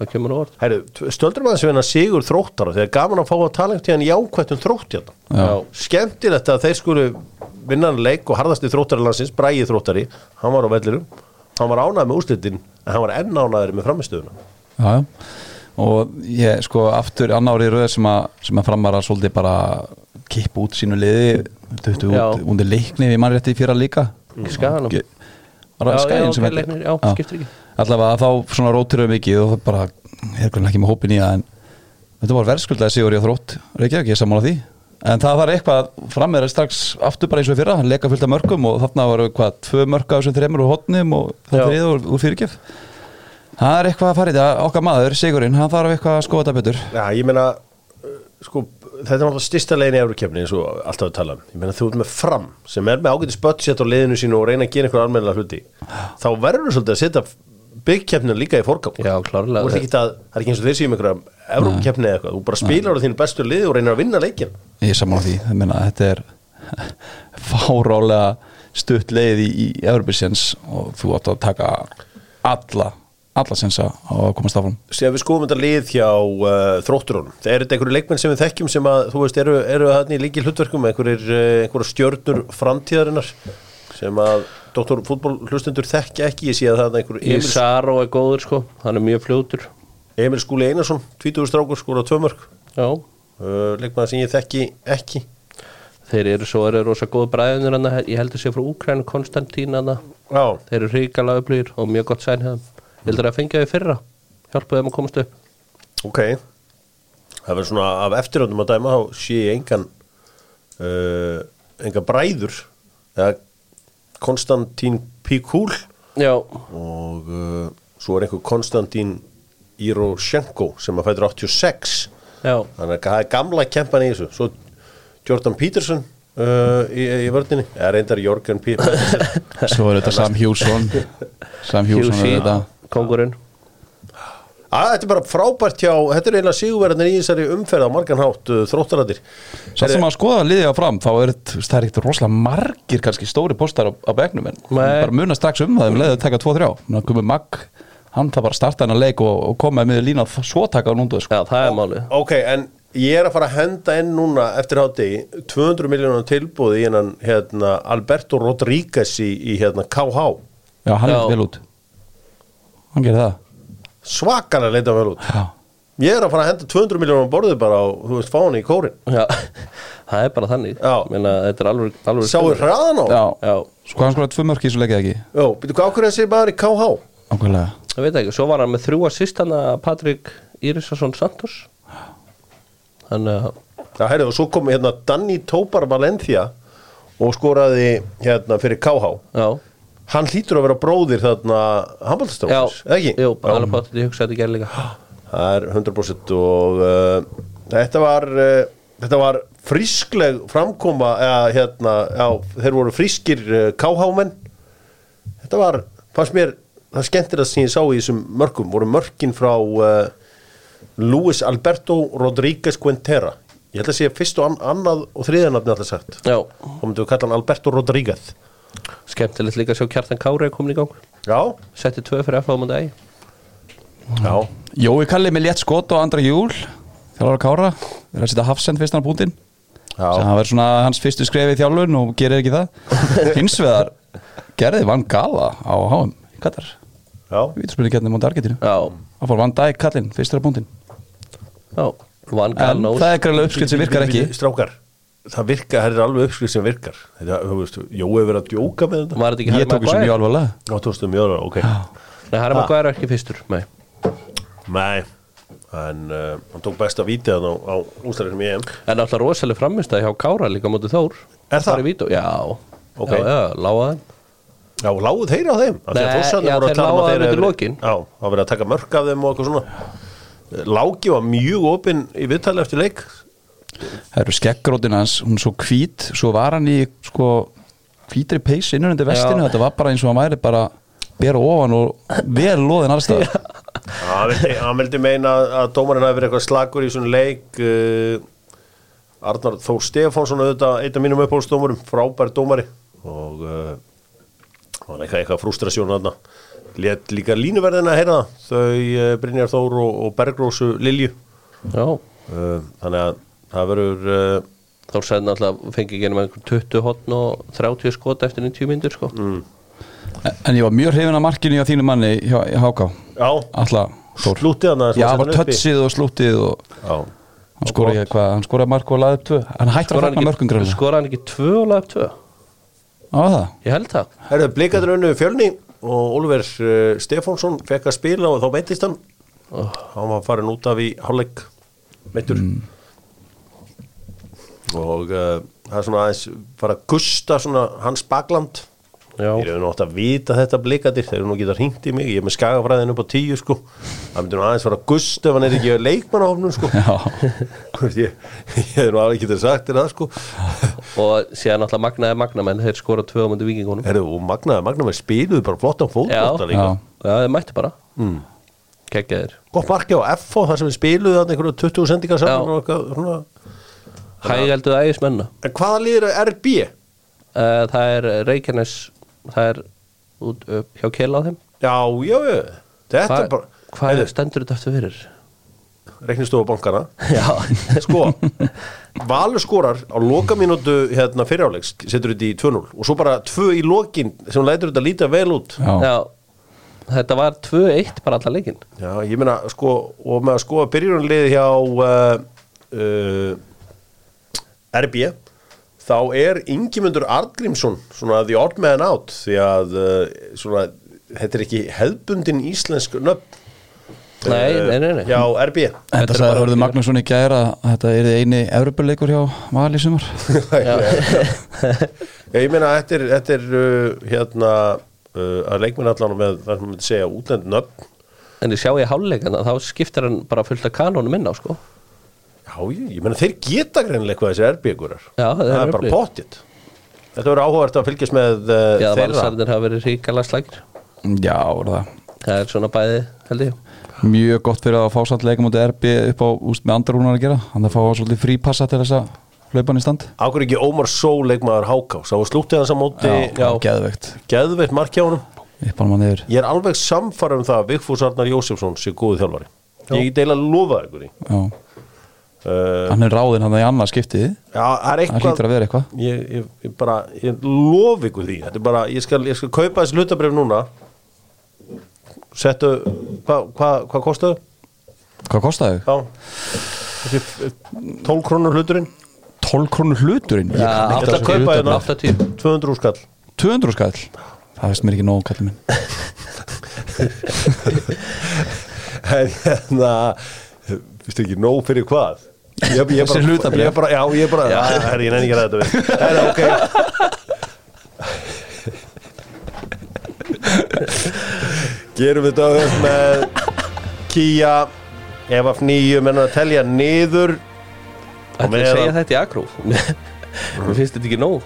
Speaker 2: það kemur á orð
Speaker 1: Herru, stöldur maður sem hennar sigur þróttara þegar gaman að fá að tala einhvern tíðan jákvætt um þrótt hérna.
Speaker 2: Já.
Speaker 1: Skemmtilegt að þeir skulu vinnan leik og harðasti þróttari landsins, Bræi þróttari, hann var á vellirum, hann var ánæður með úrslitin en hann var enn ánæður með framistöðuna.
Speaker 3: já, já. og ég sko aftur annar í röð sem að, sem að framara svolítið bara kippa út sínu liði duttu
Speaker 2: Já.
Speaker 3: út undir leikni við mannrétti í fyrra líka
Speaker 2: í skaganum
Speaker 3: Ge- var það
Speaker 2: Já, já,
Speaker 3: skæðin sem
Speaker 2: ok,
Speaker 3: heitir?
Speaker 2: leiknir, já, skiptir ekki.
Speaker 3: allavega þá svona rótirum mikið og það bara er hvernig ekki með hópin í það en þetta var verðskuldaði sigur ég þrótt Reykjavík, ég er sammála því en það var eitthvað fram með það strax aftur bara eins og í fyrra, leika fullt af mörgum og þarna var eitthvað tvö mörg af þessum þreymur úr hotnum og það
Speaker 2: Já.
Speaker 3: þrið úr, úr fyrirgjöf það er eitthvað að fara í þetta, okkar maður Sigurinn, hann þarf eitthvað að skoða þetta betur
Speaker 1: Já, ég meina uh, sko, þetta er náttúrulega styrsta legin í Eurókefni eins og alltaf að tala um, ég meina þú ert með fram sem er með ágætis budget á liðinu sínu og reyna að gera einhverja almennilega hluti þá verður svolítið að setja byggkeppnina líka í forgang
Speaker 2: Já, klárlega.
Speaker 1: Þú ert ekki að, það er ekki eins og þeir séum einhverja Eurókefni eða eitthvað, þú bara spilar á þínu bestu liði og reynir að vinna leikin
Speaker 3: Ég er saman á því, ég meina þetta er fárálega stutt leið í, í Evropisjens og þú átt að taka alla, alla sensa á að komast áfram
Speaker 1: sem við skoðum þetta lið hjá uh, þrótturunum, það eru þetta einhverju leikmenn sem við þekkjum sem að, þú veist, eru, eru hann í líki hlutverkum einhverjir, uh, einhverjur stjörnur framtíðarinnar sem að Dr. Fútbol hlustendur þekkja ekki, ég sé að það er einhverjur
Speaker 2: Emil
Speaker 1: Emil,
Speaker 2: Saró er góður sko, hann er mjög fljótur
Speaker 1: Emil Skúli Einarsson 20 strákur skóra tvömörk
Speaker 2: já,
Speaker 1: uh, leikmann sem ég þekki ekki
Speaker 2: þeir eru svo eru rosa góðu bræðinir hann ég heldur sér frá Úkræn Konstantín hann
Speaker 1: Já,
Speaker 2: þeir eru hrikalega upplýðir og mjög gott sæn hefðum ég heldur að fengja þau í fyrra, hjálpa þeim að komast upp
Speaker 1: ok Það verður svona af eftiröndum að dæma þá sé ég engan uh, engan bræður eða Konstantín Píkúl
Speaker 2: já,
Speaker 1: og uh, svo er einhver Konstantín Iroshenko sem að fætur 86
Speaker 2: já,
Speaker 1: þannig að það er gamla kempan í þessu svo Jordan Peterson uh, í, í vördinni, eða reyndar Jorgen P. Peterson
Speaker 3: Svo er þetta Sam Hjússon Sam Hjússon er
Speaker 2: Hjúsi,
Speaker 3: þetta
Speaker 2: kongurinn
Speaker 1: Að, Ah, þetta er bara frábært hjá, þetta er eiginlega sigurverðinir í þessari umferð á margan hátt uh, þróttaratir
Speaker 3: Svo sem að skoða liðið á fram þá er þú veist, það er ekkert rosalega margir kannski stóri postar á, á begnum en
Speaker 2: Nei.
Speaker 3: bara muna strax um það um leiðið að taka 2-3 Núna komið Magg, hann það bara að starta hennar leik og, og koma með lína og svo taka hann undur sko.
Speaker 2: já, það er málið
Speaker 1: Ok, en ég er að fara að henda inn núna eftir hátegi 200 miljónar tilbúði í hennan hérna, Alberto Rodríguez í, í hérna, KH
Speaker 3: Já, hann
Speaker 2: Já.
Speaker 3: er vel út Hann gerir það
Speaker 1: svakalega leita vel út
Speaker 3: Já
Speaker 1: Ég er að fara að henda 200 miljónar á borðið bara og þú veist fá hann í kórin
Speaker 2: já, það er bara þannig
Speaker 1: Já.
Speaker 2: Meina, þetta er alveg, alveg
Speaker 1: Sjáu hraðan á?
Speaker 3: Já,
Speaker 2: Já.
Speaker 3: sko hann skoraði tvö mörk í þessu leikið ekki
Speaker 1: Já, býtu hvað okkur þessi maður í KH?
Speaker 3: Ákveðlega
Speaker 2: ég veit ekki, svo var hann með þrjú assistana Patrik Írisason Santos þannig að
Speaker 1: Já, heyrðu, og svo kom hérna Danny Tópar Valencia og skoraði hérna fyrir KH
Speaker 2: já,
Speaker 1: Hann hlýtur að vera bróðir þarna
Speaker 2: já,
Speaker 1: handbóltastrókis, ekki?
Speaker 2: jú, bara alveg bátt ég hugsaði þetta í gerð líka
Speaker 1: Það er 100% og uh, þetta var uh, þetta var frískleg framkoma eða hérna, já, þeir voru frískir uh, KH-menn þetta var, fannst mér það skemmtir að sem ég sá í þessum mörkum voru mörkin frá uh, Luis Alberto Rodríguez Quintera ég held að segja fyrst og an annað og þriðanafni alltaf sagt
Speaker 2: já,
Speaker 1: þá myndum við kalla hann Alberto Rodríguez
Speaker 2: skemmtilegt líka að sjá Kjartan Kári komin í gang
Speaker 1: já,
Speaker 2: setti tvö fyrir FH múndi æg
Speaker 1: já,
Speaker 3: Jói Kalli með létt skot og andra júl Þjálfur að kára Er að setja hafsend fyrst hann á búndin Þannig
Speaker 1: já.
Speaker 3: að það verður svona hans fyrstu skref í þjálfun og gerir ekki það Hins vegar gerði vann gala á HM Katar
Speaker 1: já.
Speaker 3: Vítorspilin getnum á Argentínu
Speaker 2: já,
Speaker 3: Það fór vann dag kallinn fyrstur á búndin
Speaker 2: já, Van
Speaker 3: En
Speaker 2: Galnós
Speaker 3: það er greiðlega uppskrift sem virkar ekki
Speaker 1: Bíddu, strákar, það virka, það er alveg uppskrið sem virkar þetta, þú veist, Jói hefur verið að djóka með þetta
Speaker 2: var þetta ekki
Speaker 3: Ég tók þessu mjög alvarlega
Speaker 1: Já, tókstu mjög alveg, ok
Speaker 2: Nei, Harry Maguire er ekki fyrstur Nei.
Speaker 1: Nei, en uh, hann tók besta vítið hann á, á ústæðinum í EM
Speaker 2: en alltaf rosalega framistæði hjá Kára líka mútið Þór
Speaker 1: Er það?
Speaker 2: Bara í vídeó, Já,
Speaker 1: Ok.
Speaker 2: já, já lága þeim
Speaker 1: Já, láguð þeir á þeim Af því að
Speaker 2: Nei,
Speaker 1: Þórsarnir
Speaker 2: já,
Speaker 1: voru að
Speaker 2: þeir
Speaker 1: tala um
Speaker 2: lágu
Speaker 1: að
Speaker 2: þeim
Speaker 1: hafi
Speaker 2: undir
Speaker 1: verið-
Speaker 2: lokin.
Speaker 1: Já, það var verið að taka mörk af þeim og eitthvað svona Láki var mjög opinn í viðtali eftir leik
Speaker 3: Það eru skeggrótin hans, hún er svo hvít Svo var hann í sko hvítri peys innur undir vestinu Þetta var bara eins og hann væri bara bera ofan og vel loðin allstað
Speaker 1: Hann vildi, hann vildi meina að- að dómarinn hafi verið eitthvað slagur í svona leik uh, Arnar Þór Stefánsson auðvitað, einn af mínum eh, upphólsdómurum frábær dómari og uh, hann var eitthvað, eitthvað frustrasjón þarna Lét líka línuverðina að heyra það, þau eh, Brynjar Þór og, og Bergrósu Lilju
Speaker 2: Já,
Speaker 1: Eh, Þannig að það verður eh,
Speaker 2: þá sæði náttúrulega fengi ekki nema einhver 20 hotn og 30 skot eftir 90 myndir sko
Speaker 1: Mm.
Speaker 3: En, en ég var mjög hrifin að markinu hjá þínu manni hjá hjá HK
Speaker 1: Já,
Speaker 3: Alltaf Þór
Speaker 1: slútið hann aðeins
Speaker 3: Já,
Speaker 1: var settan
Speaker 3: bara
Speaker 1: hérna uppi.
Speaker 3: tötsið og slútið og
Speaker 1: Já,
Speaker 3: hann skoraði ekki hvað, hann skoraði mark og laði upp tvö Hann hættur að
Speaker 2: Skoraði
Speaker 3: fagna mörgum
Speaker 2: hann ekki-
Speaker 3: gröna
Speaker 2: skoraði hann ekki 2 og lagði 2
Speaker 3: Á það
Speaker 2: Ég held það
Speaker 1: Herðu, blikandur unnu fjölni og Oliver uh, Stefánsson fekk að spila og þá meittist hann
Speaker 2: Oh.
Speaker 1: hann var farin út af í hálfleik meittur
Speaker 2: Mm.
Speaker 1: og uh, það er svona aðeins fara að gusta svona hans bakland Ég
Speaker 2: Já,
Speaker 1: hefði nátt að vita þetta blikadir, þeir eru nú geta hringt í mig, ég er með skagafræðin upp á tíu sko, það myndi nú aðeins fara að gusta ef hann er ekki leikmannahofnum sko,
Speaker 3: Já,
Speaker 1: ég, ég hefði nú alveg getað sagt þér það sko,
Speaker 2: og síðan náttúrulega magnaði magnamenn þeir skoraði 2 á myndi vikingunum
Speaker 1: Herðu, og Magnaði, Magnaði spiluðu bara flottan fótbolta
Speaker 2: Já.
Speaker 1: líka,
Speaker 3: já
Speaker 2: Já, þeir mættu bara mm. Kekkjaðir
Speaker 1: gott marki á FO þar sem við spiluðu þannig einhverju 20 sendingar saman
Speaker 2: Já.
Speaker 1: og eitthvað svona.
Speaker 2: Hægælduð ægismenna
Speaker 1: En hvaða liður er RB?
Speaker 2: uh, Það er Reykjanes Það er út upp hjá Kela á þeim
Speaker 1: Já, já, já Þetta
Speaker 2: Hvað
Speaker 1: er bara,
Speaker 2: hva er stendur þetta eftir fyrir?
Speaker 1: reiknistofu bankana
Speaker 2: Já,
Speaker 1: Sko, Valur skorar á loka mínútu hérna fyriráleiks setur þetta í 2-0 og svo bara 2 í lokin sem lætur þetta líta vel út
Speaker 3: Já,
Speaker 2: Já. Þetta var 2-1 bara allar leikinn
Speaker 1: Já, ég meina, sko, og með að skoða byrjunarliði hjá uh, uh, RB þá er Ingimundur Arngrímsson svona the odd man out því að uh, svona, þetta er ekki hefbundin íslensk nöfn
Speaker 2: Nei,
Speaker 1: eh,
Speaker 2: nei, nei, nei.
Speaker 1: hjá RB
Speaker 3: en það
Speaker 2: Þetta er
Speaker 3: sagði
Speaker 2: bara-
Speaker 3: Hörður Magnússon í gæra að þetta er eini Evropuleikur hjá Val í sumar
Speaker 1: Já, ég meina, þetta er, þetta er uh, hérna uh, að leikmenn allan með það sem myndi segja útlend nöfn
Speaker 2: En ég sjá ég háluleikana, þá skiptir hann bara fullt af kanónum inn á sko
Speaker 1: Já, ég, ég meina, þeir geta greinilega eitthvað þessi RB-gurar
Speaker 2: Já, þeir
Speaker 1: það er
Speaker 2: eru
Speaker 1: bara
Speaker 2: öflugir.
Speaker 1: pottitt Þetta verður áhugavert að fylgjast með uh,
Speaker 2: Já,
Speaker 1: þeirra
Speaker 2: valsarðin hafa verið ríkala slækir
Speaker 3: Já, voru það
Speaker 2: Það er svona bæði, held ég
Speaker 3: mjög gott fyrir að fá samt leikum út RB upp á úst með andra rúnar að gera hann að fá svolítið frípassa til þess að hlaupa hann í stand
Speaker 1: Ákveður ekki Ómar Só leikmaður Háká Sá slúttið hans á móti Já,
Speaker 3: geðveikt
Speaker 1: Geðveitt marki á honum
Speaker 3: upp hann mann yfir
Speaker 1: Ég er alveg samfara um það að Vigfús Arnar Jósefsson sé góðu þjálfari Ég deila að lofa ykkur í
Speaker 3: Já.
Speaker 1: uh,
Speaker 3: hann er ráðinn hann í annað skiptið
Speaker 1: Já, það er
Speaker 3: það hlýtur
Speaker 1: eitthvað
Speaker 3: að vera eitthvað
Speaker 1: ég, ég, ég bara, ég lofa ykkur því Þetta er bara, ég skal, ég skal kaupa þessi hlutabrif núna Settu Hvað hva, hva kostaðu?
Speaker 3: hvað kostaði þau?
Speaker 1: Já Þessi 12 krónur hluturinn
Speaker 3: 12 krónur hluturinn Ég kann ekki
Speaker 1: ætla
Speaker 3: þessu
Speaker 1: að kaupa
Speaker 3: hlutabréf.
Speaker 1: hérna.
Speaker 2: 80
Speaker 1: 200 skall
Speaker 3: 200 skall það veist mér ekki nóg kallið minn
Speaker 1: En hérna Vistu ekki nóg fyrir hvað? Ég, ég bara,
Speaker 3: Þessi hlutabréf.
Speaker 1: ég bara, Já, ég bara já. Herri, ég nenni ekki að ræða þetta við Herri, ok Gerum við þetta öll með Kía Ef af nýju mennum að telja niður
Speaker 2: Þetta er
Speaker 1: meðan-
Speaker 2: að segja þetta í agrú Mér finnst þetta ekki nóg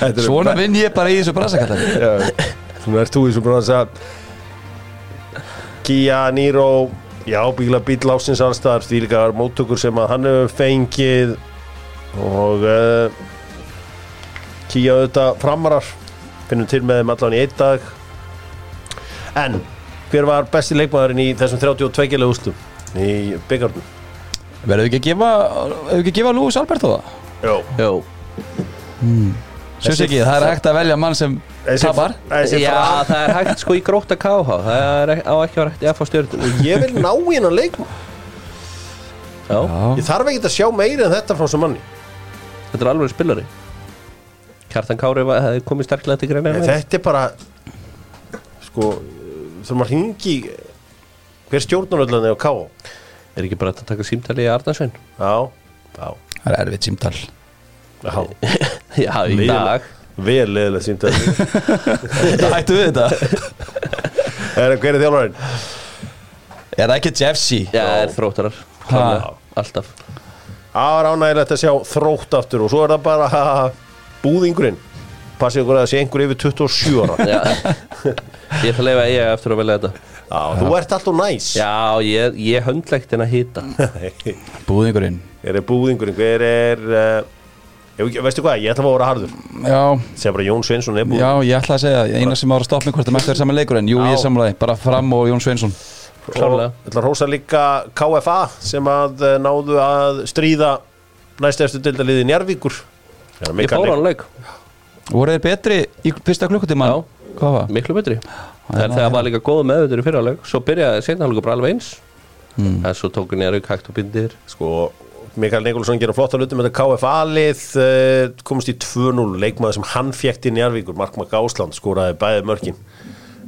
Speaker 1: Þetta er-
Speaker 3: svona vinn ég bara í þessu brasakallar
Speaker 1: Já, Svona ert þú í svo bransa Kia, Niro Já, bíla bíl ásins allstaðar stílgar móttökur sem að hann hefur fengið og uh, Kia auðvitað framarar finnum til með þeim allan í einn dag En hver var besti leikmaðurinn í þessum 32 lega ústum í byggarnum?
Speaker 3: verður ekki að gefa hefur ekki að gefa Lúis Alberto það?
Speaker 1: Jó,
Speaker 2: Jó,
Speaker 3: Sjöss
Speaker 1: Þessi-
Speaker 3: ekki, það er hægt að velja mann sem tapar
Speaker 1: Þessi
Speaker 2: Já,
Speaker 1: fram
Speaker 2: það er hægt sko í gróta KH Það er ek- á ekki að vera hægt í FH stjórnum
Speaker 1: Ég vil ná hérna leikmaður
Speaker 2: Já,
Speaker 1: Ég þarf ekki að sjá meiri en þetta frá sem manni
Speaker 2: þetta er alveg spilari Kjartan Kári var- hefði komið sterklega til greina
Speaker 1: Nei,
Speaker 2: en
Speaker 1: þetta er bara sko, þegar maður hringi hver stjórnaröldan er á K.O.
Speaker 2: Er ekki bara hægt að taka símtali í Arnarsvein?
Speaker 1: Já, já,
Speaker 3: það er erfitt símtal
Speaker 1: já
Speaker 2: Já, í dag
Speaker 1: Vel leðilega símt að
Speaker 3: Það hættu við þetta
Speaker 1: Er hver er þjálfarinn?
Speaker 3: Er það ekki Jeffsy?
Speaker 2: Já, það er þróttarar Klárlega, Alltaf
Speaker 1: Það var ánægilegt að sjá þrótt aftur og svo er það bara búðingurinn Passið ykkur að það sé einhver yfir 27 ára
Speaker 2: Já. Ég ætla að leifa ég eftir að velja þetta
Speaker 1: Já, þú ert alltaf næs
Speaker 2: Já, ég, ég höndlegt en að hýta
Speaker 1: Hver
Speaker 3: Búðingurinn
Speaker 1: er búðingurinn? Hver er uh, Ég, veistu hvað, ég ætla að vera harður
Speaker 3: Já,
Speaker 1: Segja bara Jón Sveinsson er búin
Speaker 3: já, ég ætla að segja Eina sem var að stoppa mig hvort það mætti verið saman leikur En jú,
Speaker 1: Já.
Speaker 3: ég samlaði, bara fram og Jón Sveinsson
Speaker 1: og
Speaker 2: klárlega.
Speaker 1: ég ætla að hósa líka KFA sem að eh, náðu að stríða næst eftir dildaliði Njarvíkur Ég er að
Speaker 2: Ég
Speaker 1: meika leik.
Speaker 2: fór hann leik,
Speaker 3: Voru þeir betri í fyrsta klukkutíma?
Speaker 2: Já.
Speaker 3: Hvað var?
Speaker 2: miklu betri
Speaker 3: já,
Speaker 2: Þegar það var líka góð meðvöldur í fyrra leik Svo byrjaði seinna hálfleikur bara alveg eins En svo tók hann í rauk hægt og bindir
Speaker 1: sko Mikael Nikolsson gera flotta hluti með þetta KFA-lið eh, komist í 2-0 leikmaður sem hann fjekti í Njarvíkur, Markmark Ásland skoraði bæði mörkin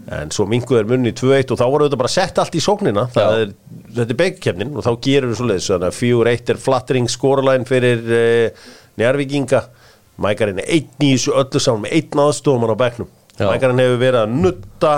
Speaker 1: en svo minguður munni í 2-1 og þá voru þetta bara sett allt í sóknina Það
Speaker 2: Já.
Speaker 1: er, þetta er beigkefnin og þá gerir við svoleiðis þannig að 4-1 er flattering skoralæn fyrir eh, Njarvíkinga Mækarinn er einn í þessu öllu saman með einn aðstofumann á bekknum
Speaker 2: Já.
Speaker 1: Mækarinn hefur verið að nutta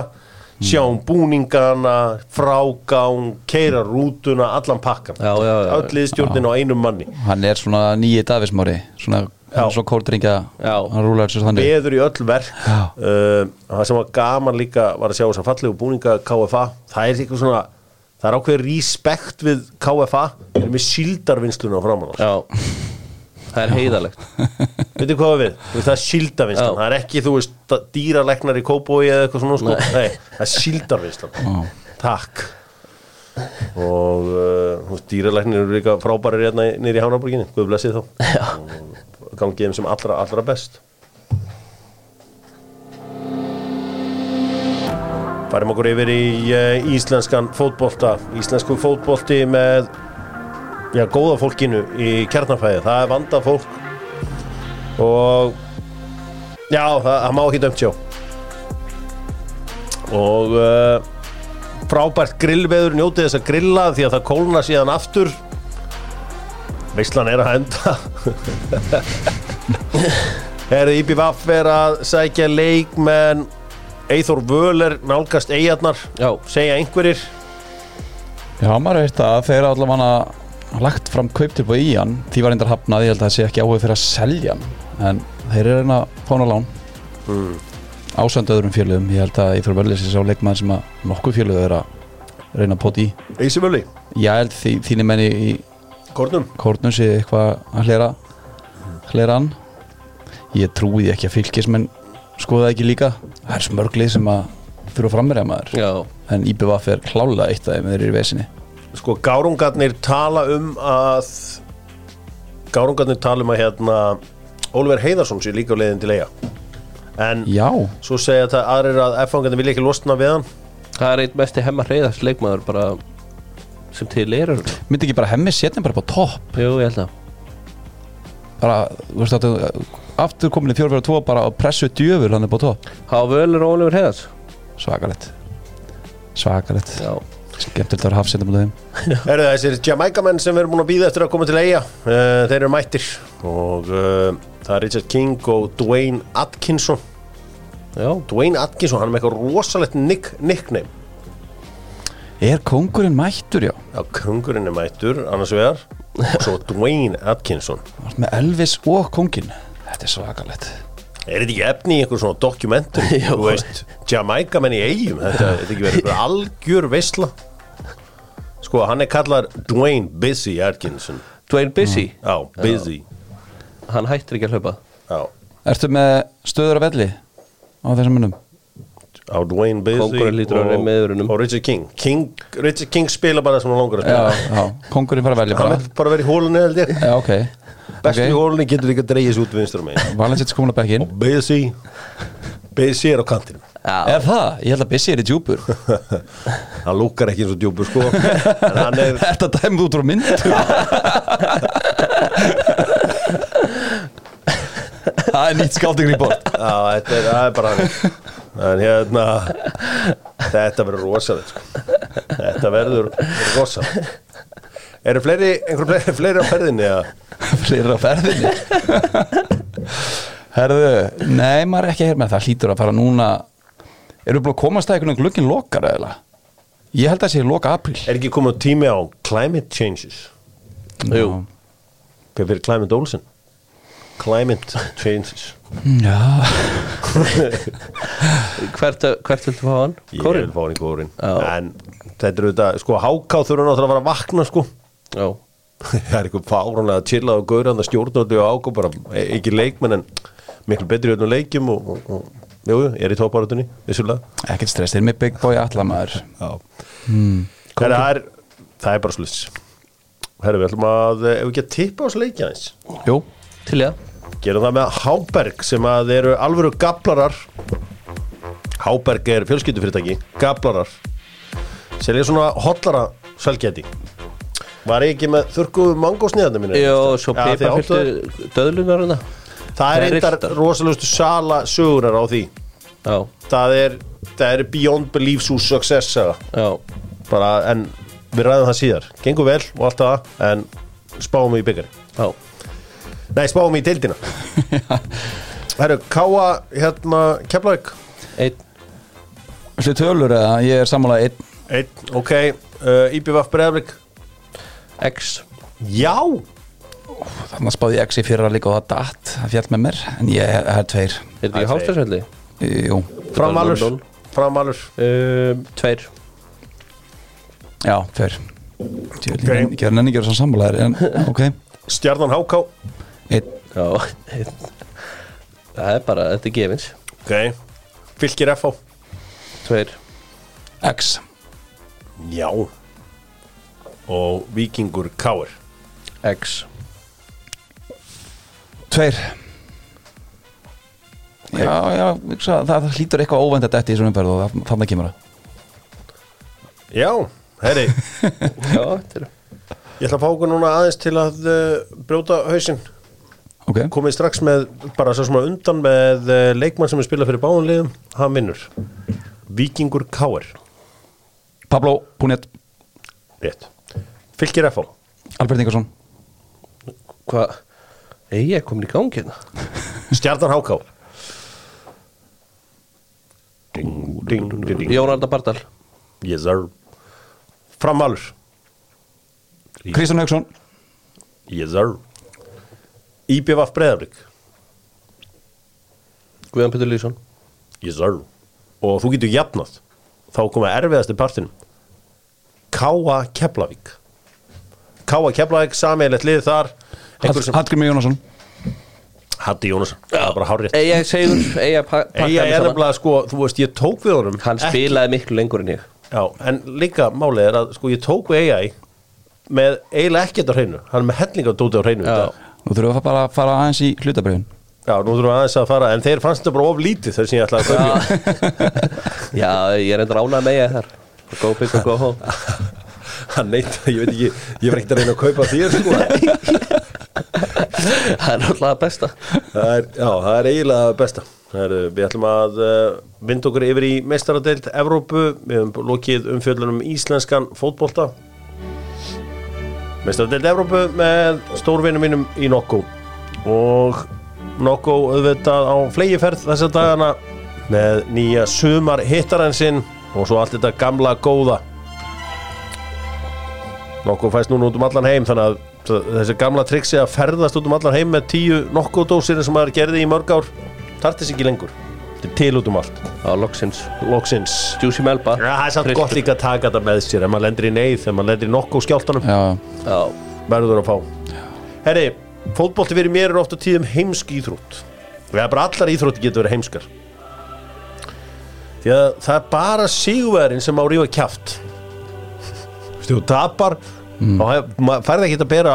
Speaker 1: sjá um búningana, frágang keira rútuna, allan pakkan
Speaker 2: Já, já, já.
Speaker 1: öll liðstjórnin á einum manni
Speaker 3: Hann er svona nýji Davismári Svona, hann
Speaker 1: Já.
Speaker 3: er svona kórdringja
Speaker 2: Já.
Speaker 3: Hann rúlar sér þannig
Speaker 1: beður í öll verk
Speaker 3: Já.
Speaker 1: uh, það sem var gaman líka var að sjá þess að fallegu búninga KFA það er eitthvað svona það er ákveðið respekt við KFA við erum við síldarvinnsluna á framann
Speaker 2: Já, það er heiðalegt
Speaker 1: veitir hvað við, Þú veist, það er síldarvinnslan
Speaker 2: Já.
Speaker 1: það er ekki, þú veist, dýraleknar í kópói eða eitthvað svona, sko, nei, það er síldarvinnslan takk og uh, þú veist, dýraleknir eru líka frábæri hérna nýri í Hánaborginni, guð blessi þá og gangið þeim sem allra, allra best Færum okkur yfir í uh, íslenskan fótbolta Íslensku fótbolti með já, góða fólkinu í kjarnafæði Það er vanda fólk og já, það, það má ekki dömt sjá og uh, frábært grillveður njótið þess að grilla því að það kólna síðan aftur Veislan er að henda Herðu IPVF er að sækja leik menn Eithor Völer nálgast eigarnar
Speaker 2: Já,
Speaker 1: segja einhverjir
Speaker 3: Já, maður veist að þeir allavega lagt fram kauptilbúð í hann Því var reyndar hafnað, ég held að það sé ekki áhuga fyrir að selja hann En þeir eru reyna að fá hann á lán Ásand öðrum fjöluðum Ég held að ég fyrir verðlýsins á leikmann sem að nokkuð fjöluðu er að reyna að poti í
Speaker 1: Eisi Völi
Speaker 3: Ég held því, þínir menni í
Speaker 1: Kornum
Speaker 3: kórnum sé eitthvað að hlera hlera hann Ég trúi því ekki að fylgismenn skoða ekki líka Það er smörglið sem að þurfa frammerja maður
Speaker 2: já,
Speaker 3: en IBVF er klálega eitt af þeim þeir eru í vesinni
Speaker 1: Sko gárungarnir tala um að Gárungarnir tala um að hérna Oliver Heiðarsson sé líka á leiðin til eiga En
Speaker 3: Já,
Speaker 1: svo segja þetta aðrir að F-fangarnir vilja ekki losna við hann
Speaker 2: það er einn mesti hemmar reyðast leikmaður bara sem til er hérna. örugglega.
Speaker 3: myndi ekki bara hemmi setja hann bara upp á topp
Speaker 2: Jú, ég held að
Speaker 3: bara, þú veist þetta aftur komin í 4-4-2 bara að pressu djöfur hann upp á topp
Speaker 2: Há völur og Ólefur heiðast
Speaker 3: svakalett svakalett,
Speaker 2: Já,
Speaker 3: skemmtilegt að vera hafsendum á þeim
Speaker 1: Eru þessir Jamaica menn sem við erum búin að býða eftir að koma til eiga uh, Þeir eru mættir Og uh, það er Richard King og Dwayne Atkinson
Speaker 2: já,
Speaker 1: Dwayne Atkinson, hann er með eitthvað rosalegt nick, nickname
Speaker 3: Er kongurinn mættur já?
Speaker 1: Já, kongurinn er mættur, annars vegar og svo Dwayne Atkinson
Speaker 3: Þú ert Með Elvis og kongin Þetta er svakalett
Speaker 1: Er þetta ekki efni í einhver svona dokumentur
Speaker 2: Já.
Speaker 1: þú veist, Jamaica menn í eigum þetta þetta er ekki verið einhver algjör veisla Sko, hann er kallar Dwayne Busy Atkinson
Speaker 2: Dwayne Busy
Speaker 1: Já, Busy
Speaker 2: Hann hættir ekki að hlaupa
Speaker 1: Já,
Speaker 3: Ertu með stöður af elli á þessum munum?
Speaker 1: á Dwayne Busy
Speaker 2: Kóngurinn lítur að vera með öðrunum.
Speaker 1: og Richard King. King Richard King spila bara sem hann langar að
Speaker 3: Já,
Speaker 1: spila
Speaker 3: já, kongurinn fara að velja
Speaker 1: Hann
Speaker 3: bara
Speaker 1: vil bara verið í hólunni held ég
Speaker 3: Já, ok
Speaker 1: Bestu í
Speaker 3: Ok,
Speaker 1: hólunni getur líka að dreigja sig út vinstur megin
Speaker 3: Valensits komin á bekkin
Speaker 1: Busy Busy er á kantinum
Speaker 2: Já,
Speaker 3: Er það? Ég held að Bissi er í djúpur
Speaker 1: hann lúkar ekki eins og djúpur sko en hann er
Speaker 3: Þetta dæmið út frá myndu Það er nýtt skáttingri bort
Speaker 1: Já, þetta er, það er bara en hérna þetta verður rosalegt sko. þetta verður rosalegt eru fleiri, einhver fleiri, fleiri á ferðinni eða?
Speaker 3: Fleira á ferðinni Herðu, nei maður er ekki að hér með það hlýtur að fara núna Erum við búin að komast að einhvern glöggin lokar eða? Ég held að það sé loka apríl
Speaker 1: er ekki komið tími á climate changes
Speaker 2: jú
Speaker 1: hvað fyrir climate Olsen climate changes
Speaker 3: Já,
Speaker 2: Hvert, hvert viltu fá hann?
Speaker 1: ég
Speaker 2: Kórin?
Speaker 1: vil fá hann í kórin
Speaker 2: Já.
Speaker 1: en þetta eru þetta, sko háká þurfa náttúrulega að fara að vakna sko
Speaker 2: Já,
Speaker 1: það er eitthvað fáránlega að chilla og gaura það stjórnandi og ágó bara e- ekki leikmenn en miklu betri öðnum leikjum og, og, og jú, jú, er í tóparutunni vissulega
Speaker 3: ekkert stress, þeir eru með Big Boy allamæður
Speaker 1: Já Herra, það, er, það er bara sluts Herra, við ætlum að, eh, ef við ekki að tippa ás leikja eins
Speaker 3: Jú,
Speaker 2: Til ég
Speaker 1: Gerum það með Háberg sem að eru alvöru gaplarar Háberg er fjölskyldufyrirtæki Gaplarar Selja svona hotlara sælgæti Var ég ekki með þurrku mangósniðarnir mínu?
Speaker 2: Jó, svo piparfylgtu döðlunar hana
Speaker 1: Það er
Speaker 2: Það er
Speaker 1: reyndar
Speaker 2: reyndar.
Speaker 1: rosalustu sala sögurar á því
Speaker 2: Já,
Speaker 1: Það er, það er beyond belief svo success saga.
Speaker 2: já
Speaker 1: bara, en við ræðum það síðar gengur vel og allt það en spáum í byggari
Speaker 2: Já,
Speaker 1: nei, spáum í deildina Herru, Káa, hérna Keflavík,
Speaker 2: einn
Speaker 3: viltu tölur eða ég er sammálaðið einn
Speaker 1: einn, ok uh, IBVF Breðavík,
Speaker 2: X
Speaker 1: já
Speaker 3: þannig að spáði ég X í fyrra líka og það datt það fjall með mér, en ég er, er tveir
Speaker 2: Er þetta
Speaker 1: Það er
Speaker 2: ekki hástarsvelli?
Speaker 3: Jú,
Speaker 1: framvalur,
Speaker 2: London.
Speaker 1: framvalur
Speaker 2: Um, tveir
Speaker 3: já, tveir Tjöli, okay. Ég er nenni að gera svo sammálaðir en ok,
Speaker 1: Stjarnan Háká,
Speaker 3: einn
Speaker 2: Já, einn Það er bara, þetta er gefins
Speaker 1: ok Fylkir FH,
Speaker 2: Tveir
Speaker 3: X,
Speaker 1: já og Víkingur Káir
Speaker 2: X
Speaker 3: tveir Já, já, hugsa, það, það hlýtur eitthvað óvendat eftir í svona umferð og það- þarna kemur það
Speaker 1: já, herri
Speaker 2: Já, þetta er
Speaker 1: ég ætla að fá okkur núna aðeins til að uh, brjóta hausinn
Speaker 3: Ok,
Speaker 1: komið strax með, bara svo sem að undan með eh, leikmann sem er spilað fyrir báðanliðum hann vinnur Víkingur Káir,
Speaker 3: Pablo, Púnett,
Speaker 1: rétt Fylkir FH,
Speaker 3: Albert Ingersson
Speaker 2: Hvað? Ég er komin í gangi hérna
Speaker 1: Stjarnan HK Ding, ding, ding, ding
Speaker 2: Jón Arda Bardal
Speaker 1: Yes sir Framalur,
Speaker 3: Kristján Hauksson,
Speaker 1: yes sir IBVF Breðabrik,
Speaker 2: Guðan Petur Lýsson
Speaker 1: yes sir og þú getur jafnað þá koma erfiðasti partinum Káa Keflavík Káa Keflavík, sameiglegt lið þar einhver sem-
Speaker 3: Hallgrimur Jónasson
Speaker 1: Hatti Jónasson, það er bara hárið
Speaker 2: Eyja Segur, Eyja pa- pakkaði
Speaker 1: Eyja
Speaker 2: mig
Speaker 1: er
Speaker 2: saman.
Speaker 1: nefnilega sko, þú veist, ég tók við honum
Speaker 2: Hann
Speaker 1: Ekki-
Speaker 2: spilaði miklu lengur en ég
Speaker 1: Já, en líka málið er að sko, ég tók við Eyja með eiginlega ekkert á hreinu, hann er með hellinga dóti á hreinu í dag.
Speaker 3: Nú þurfum við bara að fara aðeins í hlutabriðun
Speaker 1: Já, nú þurfum við aðeins að fara en þeir fannst þetta bara of lítið þess að ég ætlaði að kaupa í hann.
Speaker 2: Já, ég er enda ránað með ég þar Go big or go home
Speaker 1: Hann neitt, ég veit ekki, ég var ekkert að reyna að kaupa þér sko
Speaker 2: Það er náttúrulega það besta
Speaker 1: það er, Já, það er eiginlega það besta Það er, við ætlum að uh, vinda okkur yfir í meistaradeild Evrópu Við hefum lokið umfjöllunum um íslenskan fótbolta Meistaradeild Evrópu með stórvinum mínum í Nokko Og Nokko auðvitað á flegiferð þessa dagana Með nýja sumar hittaransinn Og svo allt þetta gamla góða Nokko fæst núna út um allan heim þannig að þ- þessi gamla triksi að ferðast út um allan heim með tíu nokko dósir sem maður gerði í mörg ár tartis ekki lengur þetta er til út um allt
Speaker 2: Já, loksins
Speaker 1: loksins
Speaker 2: Juicy Melba
Speaker 1: Ja, það er samt gott líka að taka þetta með sér ef maður lendir í neyð, ef maður lendir í nokko skjáltanum
Speaker 3: Já,
Speaker 2: Já,
Speaker 1: verður að fá Herri, fótbolti fyrir mér er ofta tíðum heimsk íþrótt við erum bara allar íþrótti getur verið heimskar því að það er bara sigurverðin sem á rífa kjaft Þú veist, þú tapar mm. og færði ekki að bera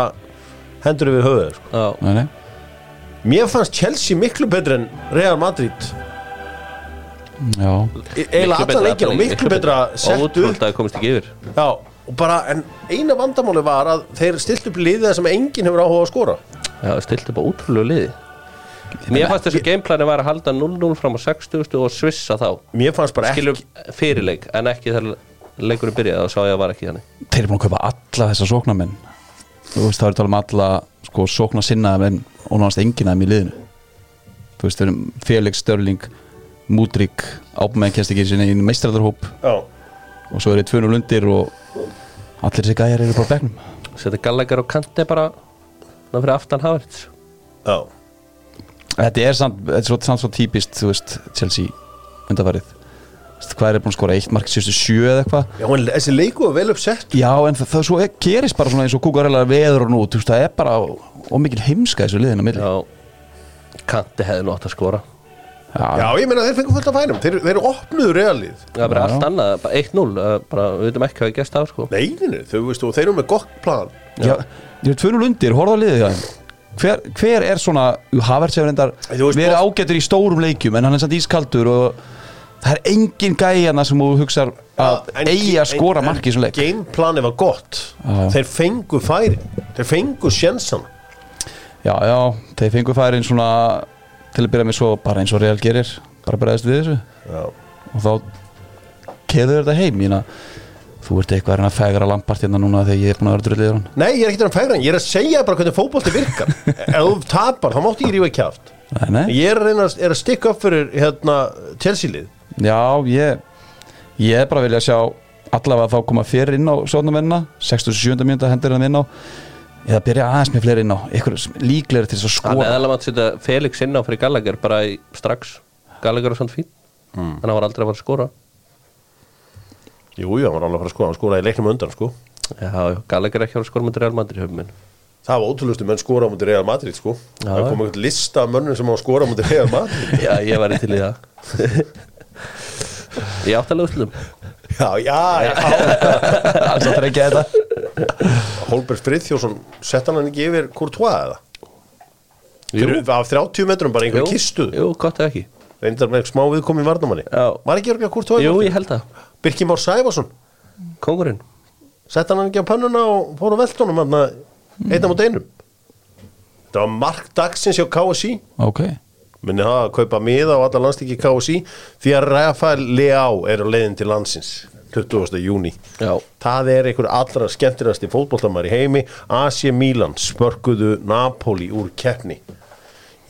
Speaker 1: hendur yfir höfuð sko.
Speaker 2: já
Speaker 3: nei, nei
Speaker 1: mér fannst Chelsea miklu betur en Real Madrid
Speaker 3: Já,
Speaker 1: E- eiginlega
Speaker 2: Miklu
Speaker 1: alla
Speaker 2: betra,
Speaker 1: leikina,
Speaker 2: alla
Speaker 1: miklu
Speaker 2: leiki.
Speaker 1: betra
Speaker 2: Og
Speaker 1: sett upp
Speaker 2: útvöld að komist ekki yfir
Speaker 1: Já, og bara, en eina vandamáli var að þeir stilt upp liðið sem enginn hefur áhuga á að skora
Speaker 2: Já, stilt upp á útrúlegu liði Mér fannst þessu gameplani var að halda 0-0 fram á 60 og svissa þá
Speaker 1: mér fannst bara ekki
Speaker 2: Skilum fyrirleik en ekki þar leikurinn byrjaði þá sá ég að var ekki þannig
Speaker 3: þeir eru búin að kaupa alla þessa sóknarmenn þú veist það eru að tala um alla sko, sóknarsinnaða menn og náðast enginn af þeim í liðinu þú veist þeir eru Felix Störling Múdrik, ábæðmenn kennst ekki sinni í meistraðarhóp
Speaker 1: Já,
Speaker 3: og svo eru tvönu lundir og allir þessi gæjar eru bara á bekknum
Speaker 2: Setja gallegar og kanti bara ná fyrir aftan hafverð
Speaker 1: já,
Speaker 3: þetta er samt, þetta er svo, samt svo típist þú veist Chelsea undarfærið Veistu, hvað er búin að skora eitt mark sérstu sjö eða eitthvað
Speaker 1: Já, en þessi leiku er vel uppsett
Speaker 3: já en það, það svo er, gerist bara svona eins og kúkarela veður og nú, þú veist það er bara ómikil heimska í þessu liðin á milli
Speaker 2: Já Kanti hefði nótt að skora
Speaker 1: Já, ég meina þeir fengur fullt af færum Þeir, þeir opnuðu realið
Speaker 2: Það er bara
Speaker 3: Já.
Speaker 2: allt annað, bara 1-0 eh, bara, Við veitum ekki hvað við gerst það sko
Speaker 1: Neininu, þau veistu, og þeir eru með gott plan
Speaker 3: Já, ég er tvunul undir, horfðu á liðið hjá þeim hver, hver er svona, Havert sem reyndar
Speaker 1: Þú veist,
Speaker 3: verið
Speaker 1: Bos-
Speaker 3: ágætur í stórum leikjum en hann er samt ískaldur og það er engin gæjana sem þú hugsar að
Speaker 1: En-
Speaker 3: eigi að skora
Speaker 1: en-
Speaker 3: mark í þessum leik
Speaker 1: Gameplanið var gott
Speaker 3: Já.
Speaker 1: Þeir fengu færin, þeir fengu sjensan
Speaker 3: Já, já, þeir fengu færin svona til að byrja með svo bara eins og Real gerir bara bregðast við þessu
Speaker 1: Já,
Speaker 3: og þá keður þetta heim ég meina, þú ert eitthvað að reyna að fegra lampart hérna núna þegar ég er búin að vera drullið hann
Speaker 1: Nei, ég er ekkert að færa hann, ég er að segja bara hvernig fótbolti virkar Ef þú tapar, þá mátti ég rífa kjáft
Speaker 3: Nei, nei,
Speaker 1: Ég er að reyna að- er að stikka upp fyrir hérna, Chelsea-lið
Speaker 3: Já, ég ég er bara að vilja sjá allavega þá koma fyrir inn á sjónumennina 67. mjönda hendur hann inn á eða byrja aðeins með fleiri inn á ykkur líklegri til þess að
Speaker 2: Hann
Speaker 3: skora
Speaker 2: eðalega maður setja Felix inn á fyrir Gallagher bara í, strax Gallagher er svona fín mm. Hann var aldrei að fara að skora
Speaker 1: Jú, jú, hann var alveg að fara að skora, hann skoraði í leiknum á undan, sko
Speaker 2: Já, já, Gallagher er ekki að fara að skora með Real Madrid í höfum minn
Speaker 1: Það var ótrúlustu menn skora á mútið Real Madrid sko
Speaker 2: Já.
Speaker 1: Það kom eitthvað lista af mönnum sem á að skora á mútið Real Madrid
Speaker 2: Já, ég væri til í það Ég átti alveg útlum
Speaker 1: Já, já, já
Speaker 3: alls að treyka þetta
Speaker 1: Holbert Friðþjórsson, sett hann hann ekki yfir Courtois eða? Fyrir- Af 30 metrum bara einhver kistu
Speaker 2: Jú, gott eða ekki
Speaker 1: Reyndar með smá viðkomi varnamanni
Speaker 2: Já.
Speaker 1: Var ekki örgja Courtois í
Speaker 2: Jú,
Speaker 1: markinu?
Speaker 2: ég held það
Speaker 1: Birkir Már Sæfarsson,
Speaker 2: Kongurinn
Speaker 1: sett hann hann ekki á pönnuna og fór á veltunum hann einna mot einum Þetta var mark dagsins hjá KSI
Speaker 3: Ok,
Speaker 1: Minni það að kaupa miða á alla landslíki KSI því að Rafael Leao er á leiðin til landsins 20. júni
Speaker 2: Já
Speaker 1: Það er einhver allra skemmtilegasti fótboltamæður í heimi AC Milan spörkuðu Napoli úr keppni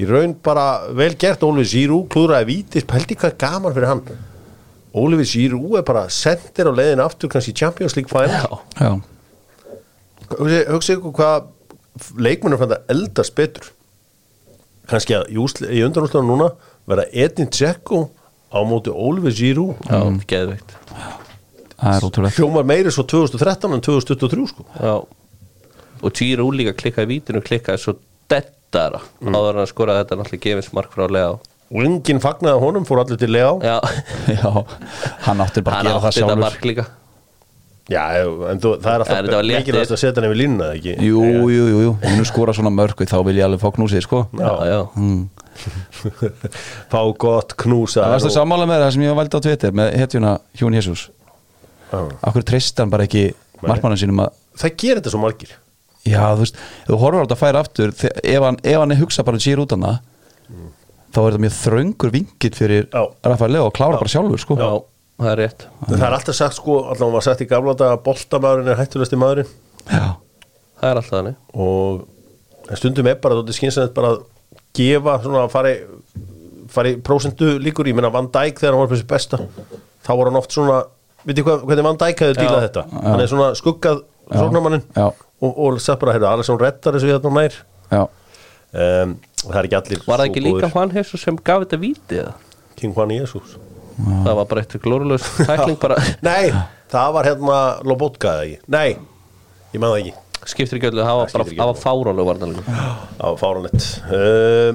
Speaker 1: Í raun bara vel gert Oliver Giroud klúðraði vítis pældi hvað er gaman fyrir hann Oliver Giroud er bara sendir á leiðin aftur kannski í Champions League
Speaker 2: Já
Speaker 1: final
Speaker 3: já,
Speaker 1: Hugsi- Hugsið ykkur hvað leikmennum fann það eldast betur kannski að í, úsl- í undanúslega núna verða Edin Dzeko á móti Oliver Giroud
Speaker 2: Já, geðveikt
Speaker 3: það er ótrúlegt
Speaker 1: hljómar meiri svo 2013 en 2023 sko
Speaker 2: Já Og Týr úlíka klikkaði vítinu klikkaði svo dettara áður en að skora þetta er náttúrulega gefins mark frá Leo
Speaker 1: og enginn fagnaði honum, fór allir til Leá
Speaker 2: Já,
Speaker 3: Já, hann átti bara að gera
Speaker 2: hann
Speaker 3: það
Speaker 2: átti þetta
Speaker 3: sjálfur
Speaker 2: mark líka
Speaker 1: Já, en þú, það er
Speaker 2: En þetta var
Speaker 1: alltaf
Speaker 2: léttir.
Speaker 1: mikilvægt að setja hann yfir línuna, ekki?
Speaker 3: Jú, jú, jú, jú, hún skora svona mörku þá vil ég alveg fá knúsið, sko
Speaker 2: Já, Mm. já,
Speaker 1: Fá gott, knúsa
Speaker 3: Það varstu sammála með það sem ég valdi á Twitter með hetjuna Hjón Jésús
Speaker 1: Það
Speaker 3: Akkur treyst hann bara ekki markmannan sínum að
Speaker 1: gerir þetta svo margir
Speaker 3: Já, þú veist, ef þú horfir á þetta færa aftur þe- ef hann, ef hann er hugsa bara sýr út hana þá er þetta mjög þröngur vingill fyrir
Speaker 1: Já.
Speaker 3: Rafael Leo að klára bara sjálfur, sko
Speaker 2: já, það er rétt
Speaker 1: Það er alltaf sagt, sko, allan var sagt í gamla daga að boltamæðurinn er hættulegsti maðurinn
Speaker 3: Já,
Speaker 2: Það er alltaf þannig
Speaker 1: og en stundum er bara, þetta skynsanett bara að gefa, svona að fari fari prósentu líkur, ég meina Van Dijk þegar hann var fyrir besta, þá var hann oft svona veit ég hvað, hvernig Van Dijk hefði dílað þetta hann er svona skuggað sóknarmannin
Speaker 3: Já.
Speaker 1: og, og sett bara, heyrðu, Alisson rettar þessu við þarna nær
Speaker 3: já,
Speaker 1: um, og það er ekki allir
Speaker 2: Var það
Speaker 1: svo
Speaker 2: ekki líka
Speaker 1: góðir.
Speaker 2: Juan Jesus sem gaf þetta víti eða?
Speaker 1: King Juan Jesus
Speaker 2: Það var bara eitthvað glórulegs tækling bara
Speaker 1: Nei, það var hérna Lobotka eða ekki Nei, ég maður það ekki
Speaker 2: skiptir ekki öllu, það var bara
Speaker 1: skiptir ekki
Speaker 2: það var fárálega varnalega
Speaker 1: Það var fáranett uh,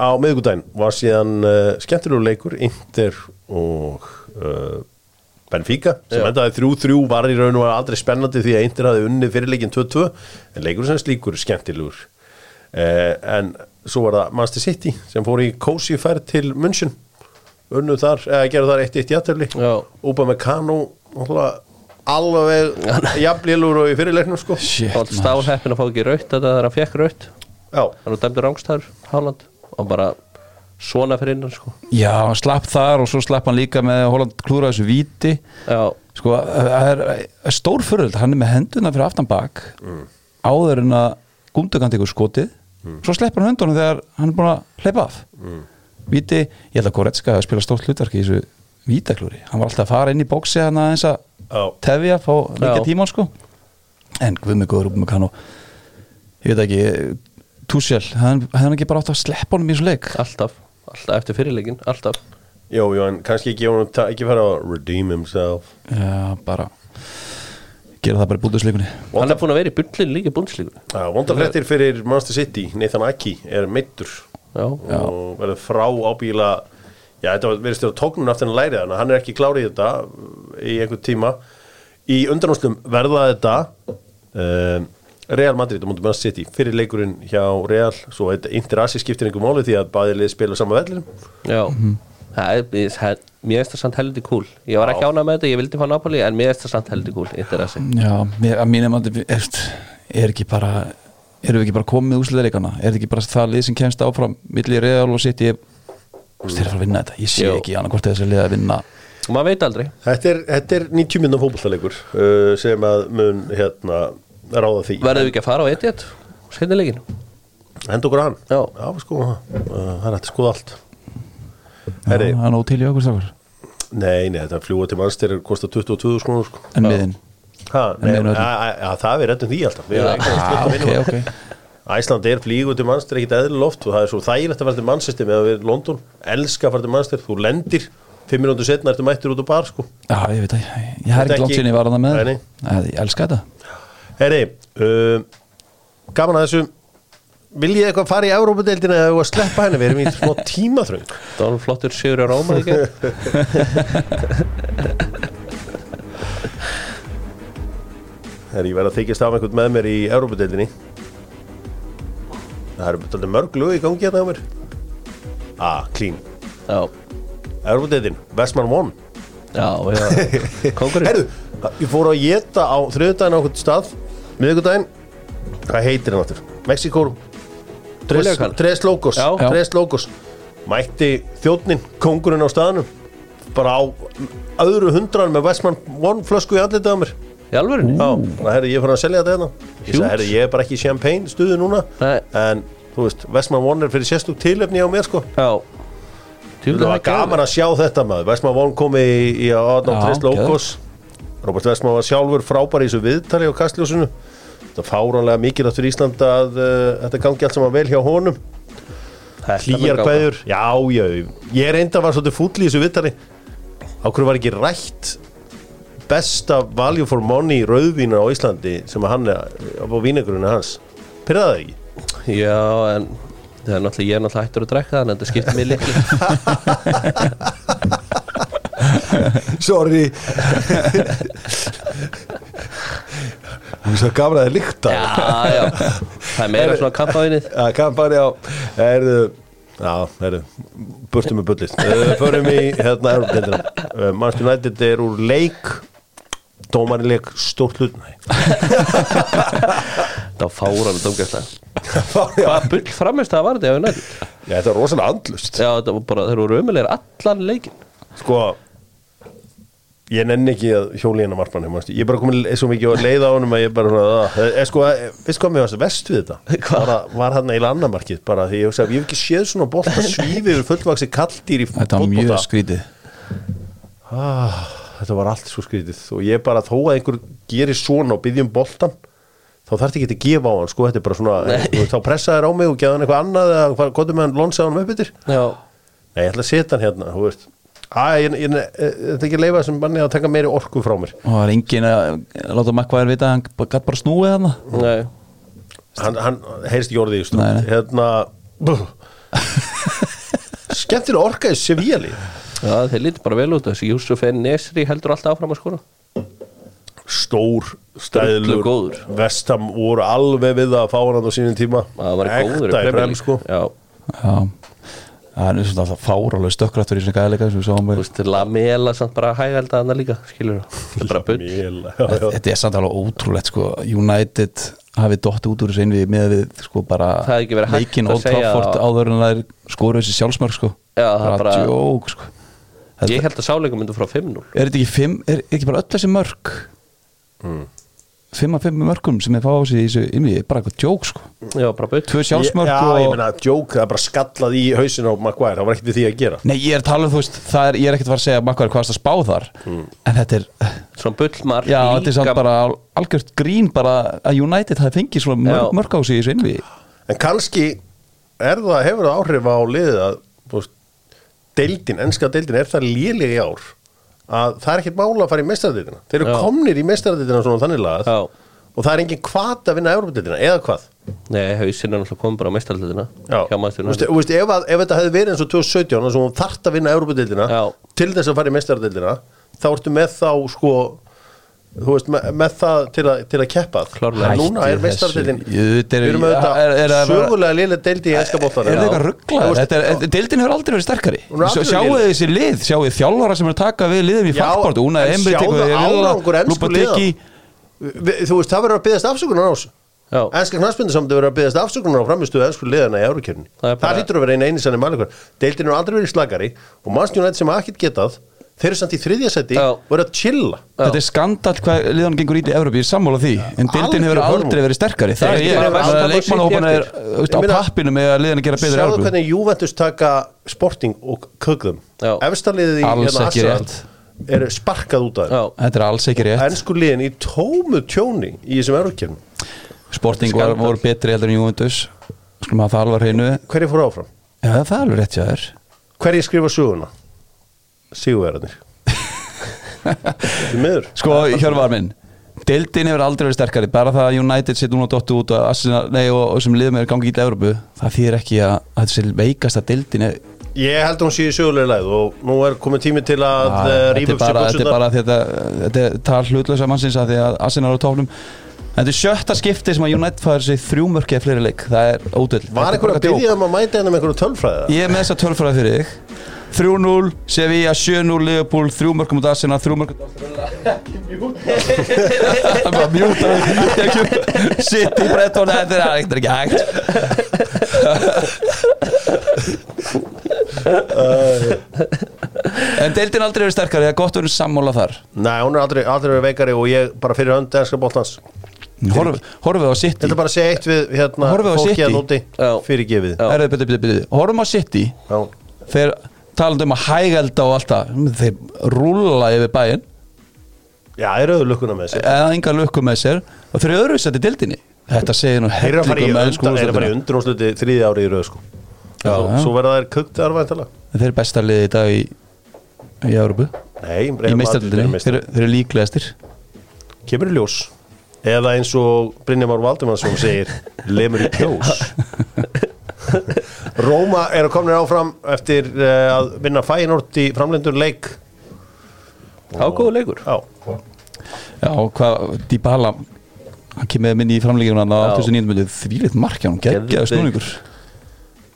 Speaker 1: Á miðvikudaginn var síðan uh, skemmtilegur leikur Inter og uh, Benfica sem
Speaker 2: Já.
Speaker 1: endaði 3-3 var í raun og var aldrei spennandi því að Inter hafði unni fyrirleikin 2-2 en leikur sem slíkur er skemmtilegur uh, en svo var það Manchester City sem fór í cozy færð til München unnu þar, eða gerðu þar 1-1 jættarli
Speaker 2: Já.
Speaker 1: Úpa með Kano alveg jafnlílur og í fyrirleiknum sko
Speaker 3: shit
Speaker 2: Það var stál heppin að fá ekki raut þetta þegar hann fekk raut
Speaker 1: Já,
Speaker 2: hann var dæmdur rángstæður, Haaland og bara svona fyrir innan sko
Speaker 3: Já, hann slapp þar og svo slapp hann líka með að Holland klúra þessu víti
Speaker 2: Já,
Speaker 3: sko, það er, er stór föröld hann er með henduna fyrir aftan bak áður en að gúndugandi ykkur skotið svo sleppur hann höndunum þegar hann er búin að hleypa af víti, ég held að Goretzka hafi spilað stórt hlutverk í þessu vítaklúri hann var alltaf að fara inn í bóksi hann aðeins
Speaker 1: Já.
Speaker 3: að tefja, fá líka
Speaker 2: Já.
Speaker 3: tíma sko en guð mig góður upp með kann og ég veit ekki Túsjál, hefði hann ekki bara átt að sleppa honum í þessu leik
Speaker 2: alltaf, alltaf eftir fyrirleikin, alltaf
Speaker 1: Jú, jú, en kannski ekki, honum ta- ekki fara að redeem himself
Speaker 3: Já, bara Gera það bara í búndusleikunni
Speaker 2: Hann er búin að vera í bundlinn líka í búndslíkunni
Speaker 1: Já, Vondafrættir Ah, fyrir Manchester City, Nathan Aki er meittur
Speaker 2: Já,
Speaker 1: og verður frá ábíla já, þetta var- virðist þér að tóknum aftur en að læri þannig að hann er ekki klárið þetta í einhvern tíma í undanúslum verða þetta um, Real Madrid og mútið mennast City fyrir leikurinn hjá Real svo þetta interassi skiptir einhver máli því að bæði lið spila á sama vellinum
Speaker 2: já Það er, ég- það- Mér finnst það samt heldur kúl Ég var ekki ánað með þetta, ég vildi fá Napoli En mér finnst það samt heldur kúl, þetta er að segja
Speaker 3: Já, mér, að mínum að eftir, er ekki bara erum við ekki bara komið úsliðarleikana er þetta ekki bara það lið sem kemst áfram milli Real og City ég, mm. þeir eru að fara að vinna þetta, ég sé
Speaker 2: Jú.
Speaker 3: ekki annað hvort þessi lið að vinna
Speaker 2: Og maður veit aldrei
Speaker 1: Þetta er, þetta er 90 minnum fótballtaleikur uh, sem að mun hérna ráða því
Speaker 2: Verðum við ekki að fara á Etihad Seinni leikinn
Speaker 1: Henda okkur á hann
Speaker 2: Já.
Speaker 1: sko, uh, það er hægt að skoða allt
Speaker 3: það
Speaker 1: Herri,
Speaker 3: er nóg til í okkur strákur
Speaker 1: nei, nei, þetta fljúa til mannstir kostar 22.000 krónur sko
Speaker 3: en miðin,
Speaker 1: Ha, nei,
Speaker 3: En meina
Speaker 1: að,
Speaker 3: öllum.
Speaker 1: að, að, það er reddum því alltaf Við erum ekki að um
Speaker 3: ah,
Speaker 1: stjórna
Speaker 3: ok,
Speaker 1: vinnu.
Speaker 3: ok
Speaker 1: Æsland er flýgu til mannstir ekkit eðlilega oft og það er svo þægilegt að fara til mannstir meðan við erum í London, elska að fara til mannstir þú lendir, fimm minútur setna ertu mættur út á bar sko.
Speaker 3: já, ég veit ekki, ég er
Speaker 1: Þetta
Speaker 3: ekki langt
Speaker 1: ekki-
Speaker 3: sinni ég var að það með
Speaker 1: Nei, nei.
Speaker 3: Nei, ég elska þetta
Speaker 1: Herri, uh, gaman að þessu viljið þið eitthvað fara í Európa-deildina eða eigum við að sleppa henni, við erum í smá tímaþröng
Speaker 2: Það var nú flottur sigur á Róma ekki
Speaker 1: Herri, ég verð að þykjast af einhvern með mér í Európa-deildinni Það eru dálítið mörg lög í gangi hérna á mér Ah, clean
Speaker 2: Já,
Speaker 1: Európa-deildin, Vestmann 1
Speaker 2: já, já Kongurinn
Speaker 1: Herru, ég fór að geta á þriðdæðin á okkur stað miðvikudaginn, hvað heitir hann áttur? Mexiko Tres,
Speaker 2: Olíukarl.
Speaker 1: tres Logos
Speaker 2: Já.
Speaker 1: Tres Logos Mætti þjóttnin, kongurinn á staðanum bara á öðru hundran með Westman One flösku í andlitið á mér
Speaker 2: Í alvörinu?
Speaker 1: Já, þannig að herri, ég fann að selja þetta hérna Ég sagði,
Speaker 2: Huge.
Speaker 1: herri, ég er bara ekki í champagne stuði núna
Speaker 2: Nei.
Speaker 1: En, þú veist, Westman One er fyrir sérstúk tilefni á mér, sko
Speaker 2: Já
Speaker 1: Það var gaman að sjá þetta maður Vestman Von komi í, í aðan
Speaker 3: Já,
Speaker 1: Trist Lókos Robert Vestman var sjálfur frábær í þessu viðtali á kastljósinu Þetta er fáránlega mikilvægt fyrir Ísland að uh, þetta gangi allt saman vel hjá honum Hlýjar kveður Já, já, ég reynda var svolítið fúll í þessu viðtali Á hverju var ekki rætt besta value for money rauðvínu á Íslandi sem að hann er á vínegurinu hans Pyrraði það ekki?
Speaker 2: Já, en það er náttúrulega, ég er náttúrulega hættur að drekka þannig að þetta skiptir mig líkli
Speaker 1: Sorry Hún svo gaman að þið líkta
Speaker 2: Já, já, það er meira svona kampavinnið
Speaker 1: Já, kampani á Erðu Já, erðu Burtum með bullist uh, Förum í hérna Európa-deildina uh, Manchester United er úr leik Dómarin leik stórt hlut Nei
Speaker 2: Það var fáran domgæslega
Speaker 1: Já,
Speaker 2: Hvað bull framist það var þetta hjá United?
Speaker 1: þetta er rosalega andlust
Speaker 2: Já, þetta var bara, þeir voru ömulegir allan leikin
Speaker 1: Sko Ég nenni ekki að hjóli hennar marfmann Ég er bara komin svo mikið að leiða á honum að ég er bara svona, að, er, sko, Veist hvað mér varst vest við þetta
Speaker 2: Hvað?
Speaker 1: bara, Var hann eila annar markið bara því ég hugsa ég hef ekki séð svona bolta svífið yfir fullvaksi kalldýr í
Speaker 3: þetta var mjög
Speaker 1: fótbolta.
Speaker 3: skrítið
Speaker 1: ah, þetta var allt svo skrítið og ég bara þó að einhver gerir svona og byggjum boltan þá þarf ekki að gefa á hann sko, þetta er bara svona, þú veist, þá pressa þær á mig og gefa hann eitthvað annað eða hvað, hvað er með hann lonsa hann upp yfir
Speaker 2: Já,
Speaker 1: nei, ég ætla að setja hann hérna, þú veist Æ, ég, ég, ég, þetta er ekki að leifa þessum manni að taka meiri orku frá mér
Speaker 3: og það var engin að láta makkvæðir vita að hann bara- gat bara snúið hann
Speaker 2: nei
Speaker 1: hann, hann heyrst ekki orðið í stund
Speaker 3: Nei, nei.
Speaker 1: hérna skemmtilega orka í Sevíali
Speaker 2: Já, þeir líti bara vel út þessi Júsuf N. Nesri heldur alltaf áfram að skora
Speaker 1: stór,
Speaker 2: Drullu
Speaker 1: stæðlur
Speaker 2: góður.
Speaker 1: vestam voru alveg við að fá hann á sínum tíma
Speaker 2: Það var góður í
Speaker 1: ekta í
Speaker 2: Premier
Speaker 1: frem
Speaker 2: League.
Speaker 1: sko
Speaker 2: Já,
Speaker 3: já, hann er svona alltaf fárálega stökkrættur í þessum gæðleika sem við sáum
Speaker 2: þú veist, til að mela samt bara hægælda hann líka, skilur Það er bara bull
Speaker 1: Mjöl, já, já.
Speaker 3: þetta er samt alveg ótrúlegt sko. United hafi dótt út úr þessu einvið með við sko bara
Speaker 2: Það hefði ekki verið hægt
Speaker 3: leikinn
Speaker 2: að
Speaker 3: Old
Speaker 2: segja-
Speaker 3: Trafford áður en þær skoru þessi sjálfsmörg sko
Speaker 2: Já, það er bara-
Speaker 3: djók, sko. þetta,
Speaker 2: Ég held að sáleikum myndu frá 5-0
Speaker 3: er þetta ekki fimm, er, er ekki bara öll þessi mörg
Speaker 1: Mm.
Speaker 3: fimm að fimm mörgum sem er fáið á sig í þessu einvið, bara eitthvað djók sko
Speaker 2: Já, bara bull
Speaker 3: tvö sjálfsmörg
Speaker 1: Já, ég
Speaker 3: og
Speaker 1: meina, joke, það er bara skallað í hausin á Maguire, það var ekkert við því að gera
Speaker 3: Nei, ég er talað, þú veist, það er, ég er ekkert að fara að segja makkvæður hvað það spá þar,
Speaker 1: Mm.
Speaker 3: en þetta er
Speaker 2: Svona bullmark
Speaker 3: já, þetta er samt
Speaker 2: líka-
Speaker 3: bara al- algjört grín bara að United hafi fengið svona
Speaker 2: Já.
Speaker 3: mörg, mörg á sig í þessu einvið
Speaker 1: En kannski er það, hefur það áhrif á liðið að þú veist, deildin, enska deildin er það léleg í ár að það er ekkert mála að fara í meistaradeildina þeir eru
Speaker 2: Já.
Speaker 1: komnir í meistaradeildina svona þannig lagað
Speaker 2: Já.
Speaker 1: og það er engin hvat að vinna Európa-deildina, eða hvað
Speaker 2: Nei, hausinn er náttúrulega komið bara á mestarlutina
Speaker 1: Já,
Speaker 2: hjá
Speaker 1: Þú
Speaker 2: maðurstjórnum
Speaker 1: veist, þú veist, ef, að, ef þetta hefði verið eins og 2017 þar sem hún þart að vinna Európa-deildina
Speaker 2: Já.
Speaker 1: til þess að fara í meistaradeildina þá ertu með þá sko þú veist, með, með það til að, til að keppa
Speaker 2: Klárlega.
Speaker 1: núna
Speaker 3: Hætti
Speaker 1: er meistaradeildin
Speaker 3: þessu. Jú, þetta er-
Speaker 1: við erum auðvitað
Speaker 3: er- er- er-
Speaker 1: sögulega lélega deildi í enska bóttan
Speaker 3: Er það eitthvað rugglaður? Þetta er- þetta- Deildin hefur aldrei verið sterkari
Speaker 1: Hún er aldrei
Speaker 3: Sjá- Sjáu
Speaker 1: léleg.
Speaker 3: þessi lið, sjáu þið þjálfara sem eru að taka við liðum í
Speaker 1: Já,
Speaker 3: fagbortu Úna
Speaker 1: en
Speaker 3: Emri tekur
Speaker 1: sjáðu
Speaker 3: við
Speaker 1: árangur
Speaker 3: Villa,
Speaker 1: ensku
Speaker 3: Lúpatekki
Speaker 1: þú veist, það verður að byggast afsökunar á þessu
Speaker 2: Já.
Speaker 1: Enska knarspindisamdi verður að byggast afsökunar á framistuðu ensku liðana í Eurókjörni
Speaker 2: Það er bara-
Speaker 1: Það hlýtur að vera einu einu sannig mælikvar Deildin er aldrei verið slagari og mannstjónætt sem ekkert getað þeir eru samt í þriðja seti
Speaker 2: Já.
Speaker 1: og eru að chilla
Speaker 3: Þetta er skandal hvað liðan gengur í í Evropi, ég er sammála því En deildin hefur
Speaker 1: Algjör
Speaker 3: aldrei verið sterkari Það er
Speaker 2: Deildin
Speaker 3: ég,
Speaker 2: hefur
Speaker 3: það
Speaker 2: alltaf
Speaker 3: er
Speaker 2: bara
Speaker 3: leikmannahópan
Speaker 2: sýnt
Speaker 3: er
Speaker 2: í eftir.
Speaker 3: veist, á
Speaker 1: Ég meina-
Speaker 3: pappinu með að liðan að gera betur í
Speaker 1: Sjáðu
Speaker 3: Evropi
Speaker 1: hvernig Juventus taka sporting og kökum
Speaker 2: Já.
Speaker 1: Efstaliðið í
Speaker 3: Alls
Speaker 1: hérna
Speaker 3: ekki
Speaker 1: Arsenal
Speaker 3: rétt.
Speaker 1: eru sparkað út af
Speaker 2: Já,
Speaker 3: Þetta er alls ekki rétt
Speaker 1: Ensku liðin í tómu tjóni í þessum Eurókjörnum
Speaker 3: Sporting var,
Speaker 2: Skandal.
Speaker 3: voru betri heldur en Juventus Skulum hafa það alvar hreinu Já,
Speaker 1: Hverju fór áfram?
Speaker 3: það er alveg rétt hjá þér
Speaker 1: Hverju skrifa söguna? Sigurverðarnir Því miður
Speaker 3: Sko, Hjörvar minn Deildin hefur aldrei verið sterkari Bara það að United sitt núna dottu út og, Arsenal, nei, og, og sem liðum er gangi í Evropu Það þýðir ekki að, að þetta sé veikasta deildin er,
Speaker 1: Ég held að hún sé í sögulega læð og nú er komið tími til að
Speaker 3: að,
Speaker 1: eh,
Speaker 3: Þetta
Speaker 1: rífa
Speaker 3: er
Speaker 1: upp sér
Speaker 3: bara, þetta er
Speaker 1: buxurnar.
Speaker 3: bara þetta, þetta er tal hlutlösa mannsins að því að Arsenal er á tóflum Þetta er sjötta skipti sem að United fær sig þrjú mörki eða fleiri leik Það er ódöld
Speaker 1: Var einhver að byrja um að mæta henni með einhverju tölfræði?
Speaker 3: Ég er með þessa tölfræði fyrir þig 3-0, Sevilla, 7-0, Liverpool 3 mörgum út aðsina, 3 mörgum um út aðsina Bara mjúta Ég er ekki- City, Bretton, þetta er þetta er ekki hægt En deildin aldrei verið sterkari, það er gott að vera sammála þar
Speaker 1: Nei, hún er aldrei, aldrei verið veikari og ég bara fyrir hönd enska bóttans.
Speaker 3: Horf- Horfið á City
Speaker 1: Þetta er bara að segja eitt við hérna,
Speaker 3: Horfum við á
Speaker 1: fólki
Speaker 3: City?
Speaker 1: að núti
Speaker 2: Já.
Speaker 1: fyrir gefið.
Speaker 3: Herðu, byrju, byrju, byrju. Horfum á City
Speaker 1: Já.
Speaker 3: Þeir talandi um að hægælda og allt það Þeir rúlla yfir bæinn
Speaker 1: Já, þeir eru lukkuna með sér.
Speaker 3: eða enga lukku með sér og þeir eru öðru sætti dildinni þetta segir nú
Speaker 1: Þeir eru að fara í
Speaker 3: hellingu með
Speaker 1: undan-
Speaker 3: ensku
Speaker 1: þeir eru að fara í
Speaker 3: úrslitinu.
Speaker 1: undrúnsluti þriði ári í röð, sko. Já.
Speaker 3: já.
Speaker 1: Svo verða þær kukt þar væntalega.
Speaker 3: þeir eru besta liðið í dag í, í Európu í
Speaker 1: Nei, Real Madrid er
Speaker 3: meistaldinni,
Speaker 1: meistari.
Speaker 3: þeir, eru- þeir eru líklegastir
Speaker 1: Kemur í ljós. Eða eins og Brynjar Már Valdimansson segir, lemur í kjós. Róma eru komin áfram eftir uh, að vinna fæinort í framlendur leik.
Speaker 2: það var góður leikur
Speaker 1: Já.
Speaker 3: já, og hvað, Dybala hann kemur minni í framleikinu hann á
Speaker 2: Já.
Speaker 3: 89. myndu þvílitt markja, hann geggjaði
Speaker 2: Geðveik.
Speaker 3: snúningur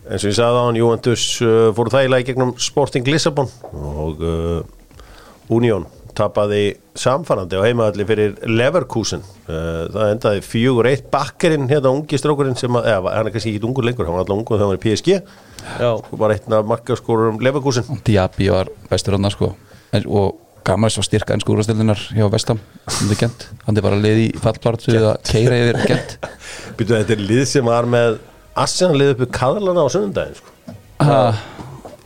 Speaker 1: eins og ég sagði á hann, Juventus uh, fóru þægilega í gegnum Sporting Lissabon og uh, Union tapaði samfarnandi á heimaðalli fyrir Leverkusen uh, það endaði fjögur eitt bakkerinn hérna ungi strókurinn sem að, eða hann er kannski ekki ungur lengur, hann var alltaf ungur þegar hann var í PSG
Speaker 2: Já,
Speaker 1: og Sko, bara einn af markaskórum Leverkusen
Speaker 3: Diaby var bestur hann sko en, og gaman þess að styrka ensku úrvastildinar hjá Vestam, hann er gent hann er bara liðið í fallbartu eða keira yfir gent
Speaker 1: Býtu, þetta er lið sem var með Arsenal lið uppi kaðlana á sunnundaginn sko.
Speaker 3: Ha,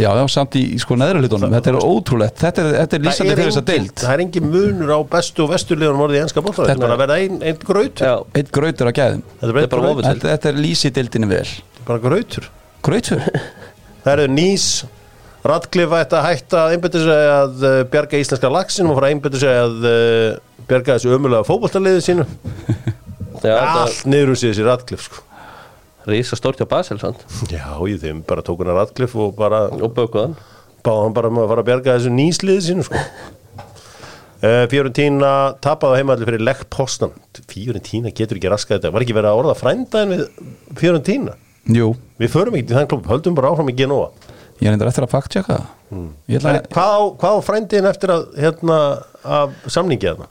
Speaker 3: já, já, samt í, í sko neðra hlutunum Þetta er ótrúlegt, þetta er, þetta er lýsandi fyrir þessa
Speaker 1: engin-
Speaker 3: deild
Speaker 1: það er engin munur á bestu og vestu liðunum orðið í enska bóttar
Speaker 3: Þetta-
Speaker 1: þetta er að verða einn ein grautur
Speaker 2: já,
Speaker 3: Eitt grautur á gæðum
Speaker 1: þetta
Speaker 2: Þetta
Speaker 1: er
Speaker 2: er bara
Speaker 1: bara,
Speaker 2: ofur.
Speaker 1: bara,
Speaker 3: þetta, þetta er lýsi deildinni vel
Speaker 1: bara grautur
Speaker 3: Grautur?
Speaker 1: Það eru nýs Radcliffe ætti að hætta að einbytta sig að eh, bjarga íslenska laxinum og fara að einbytta sig að eh, bjarga þessu ömulega fótballtaliðið sínu
Speaker 2: já
Speaker 1: Allt niður úr sig þessi Radcliffe sko.
Speaker 2: Rísa stórt hjá Basel sant?
Speaker 1: Já, ég þeim bara tók hann að Radcliffe og bara
Speaker 2: og bökuðan
Speaker 1: báði hann bara um að fara að bjarga þessu nýsliðið sínu sko. uh, Fiorentína tapaði heimallir fyrir Lech Postan Fiorentína getur ekki raskað þetta var ekki verið að orða frænda en við Fiorentína
Speaker 3: Jú,
Speaker 1: Við förum ekki til þann klubb, höldum bara áfram í Genoa
Speaker 3: ég er endur eftir að faktjaka það Ég ætla
Speaker 1: En
Speaker 3: að-
Speaker 1: Hvað á, hvað á frændiðin eftir að, hérna, að samningi þarna?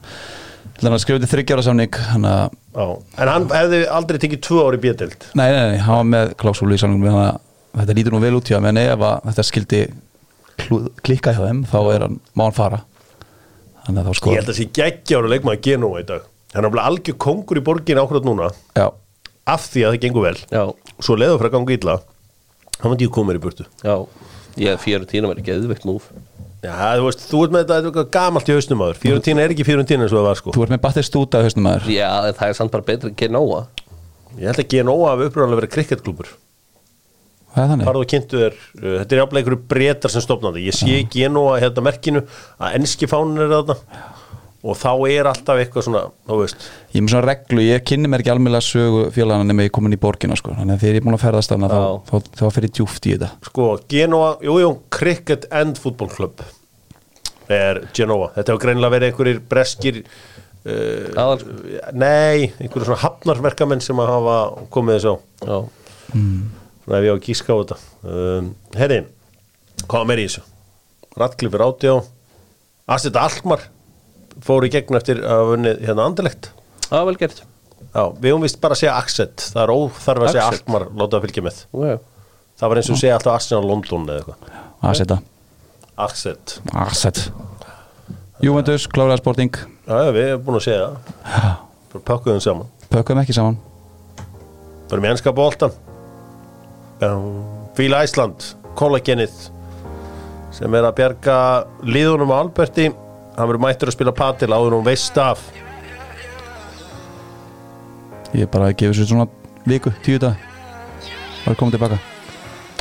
Speaker 3: ætla hann að skrifa til þryggjara samning hann að,
Speaker 1: Já, en hann hefði aldrei tekið tvö ári bjöðdelt
Speaker 3: nei, nei, nei, hann var með klásúlu í samningum hann að þetta lítur nú vel út hjá þeim, en ef að þetta skildi klú, klikka hjá þeim, þá er hann, má hann fara Þannig að þá sko
Speaker 1: Ég held að sé geggjáru leikmaði Genova í dag Hann er alveg algjör kongur í borgin ákvörð núna
Speaker 3: Já,
Speaker 1: af því að það gengur vel
Speaker 2: Já,
Speaker 1: Svo leiður fyrir að ganga illa Hann myndi ég koma mér í burtu
Speaker 2: já Ég fyrir tína verið geðveikt múf
Speaker 1: Já, þú veist, þú ert með þetta þetta er eitthvað gamalt í hausnum aður Fjörutína er ekki fjörutína eins og það var sko
Speaker 3: þú ert með battist út af hausnum maður
Speaker 2: Já, en það er samt bara betra en Genoa
Speaker 1: Ég held að Genova hafi uppröðanlega verið kriketklúpur
Speaker 3: Það er þannig
Speaker 1: farðu og kynntu þér, uh, þetta er jafnlega einhverju breytar sem stopnaði, ég sé ekki enn og að hérna merkinu að enski fánin er þarna og þá er alltaf eitthvað svona, þú veist
Speaker 3: Ég er með svona reglu, ég kynni mér ekki almennlega sögu félagana nema ég er komin í borgina sko. Þannig að þegar ég er búin að ferðast hana þá, þá, þá fer ég djúft í þetta
Speaker 1: sko, Genoa, jú, jú, Cricket and Football Club er Genoa, þetta hefur greinilega verið einhverjir breskir uh,
Speaker 2: Aðal- sko.
Speaker 1: nei, einhverjir svona hafnarverkamenn sem að hafa komið þessu á
Speaker 2: Já,
Speaker 1: svona ef ég á að gíska á þetta um, herri, hvað meir í þessu Ratklifur átjá Astrid Alkmar fór í gegn eftir að hafa vunnið hérna andilegt
Speaker 2: það er vel gert
Speaker 1: já, við höfum vist bara að segja Axet það er óþarf að segja
Speaker 2: Axet.
Speaker 1: Alkmar, láta það fylgja með
Speaker 2: Já.
Speaker 1: það var eins og segja alltaf Arsenal London eða eitthvað
Speaker 3: Aseta,
Speaker 1: Axet
Speaker 3: aset Juventus, kláraði sporting
Speaker 1: Já, já, við erum búin að segja það Bara pakkuðum saman
Speaker 3: Pökkum ekki saman
Speaker 1: Förum í ennska bóltan Fíla Æsland Kollagenið sem er að bjarga liðunum á Alberti hann verður mættur að spila patil áður hún veist af
Speaker 3: Ég er bara að gefa sér svona viku, tíu dag Það er komið tilbaka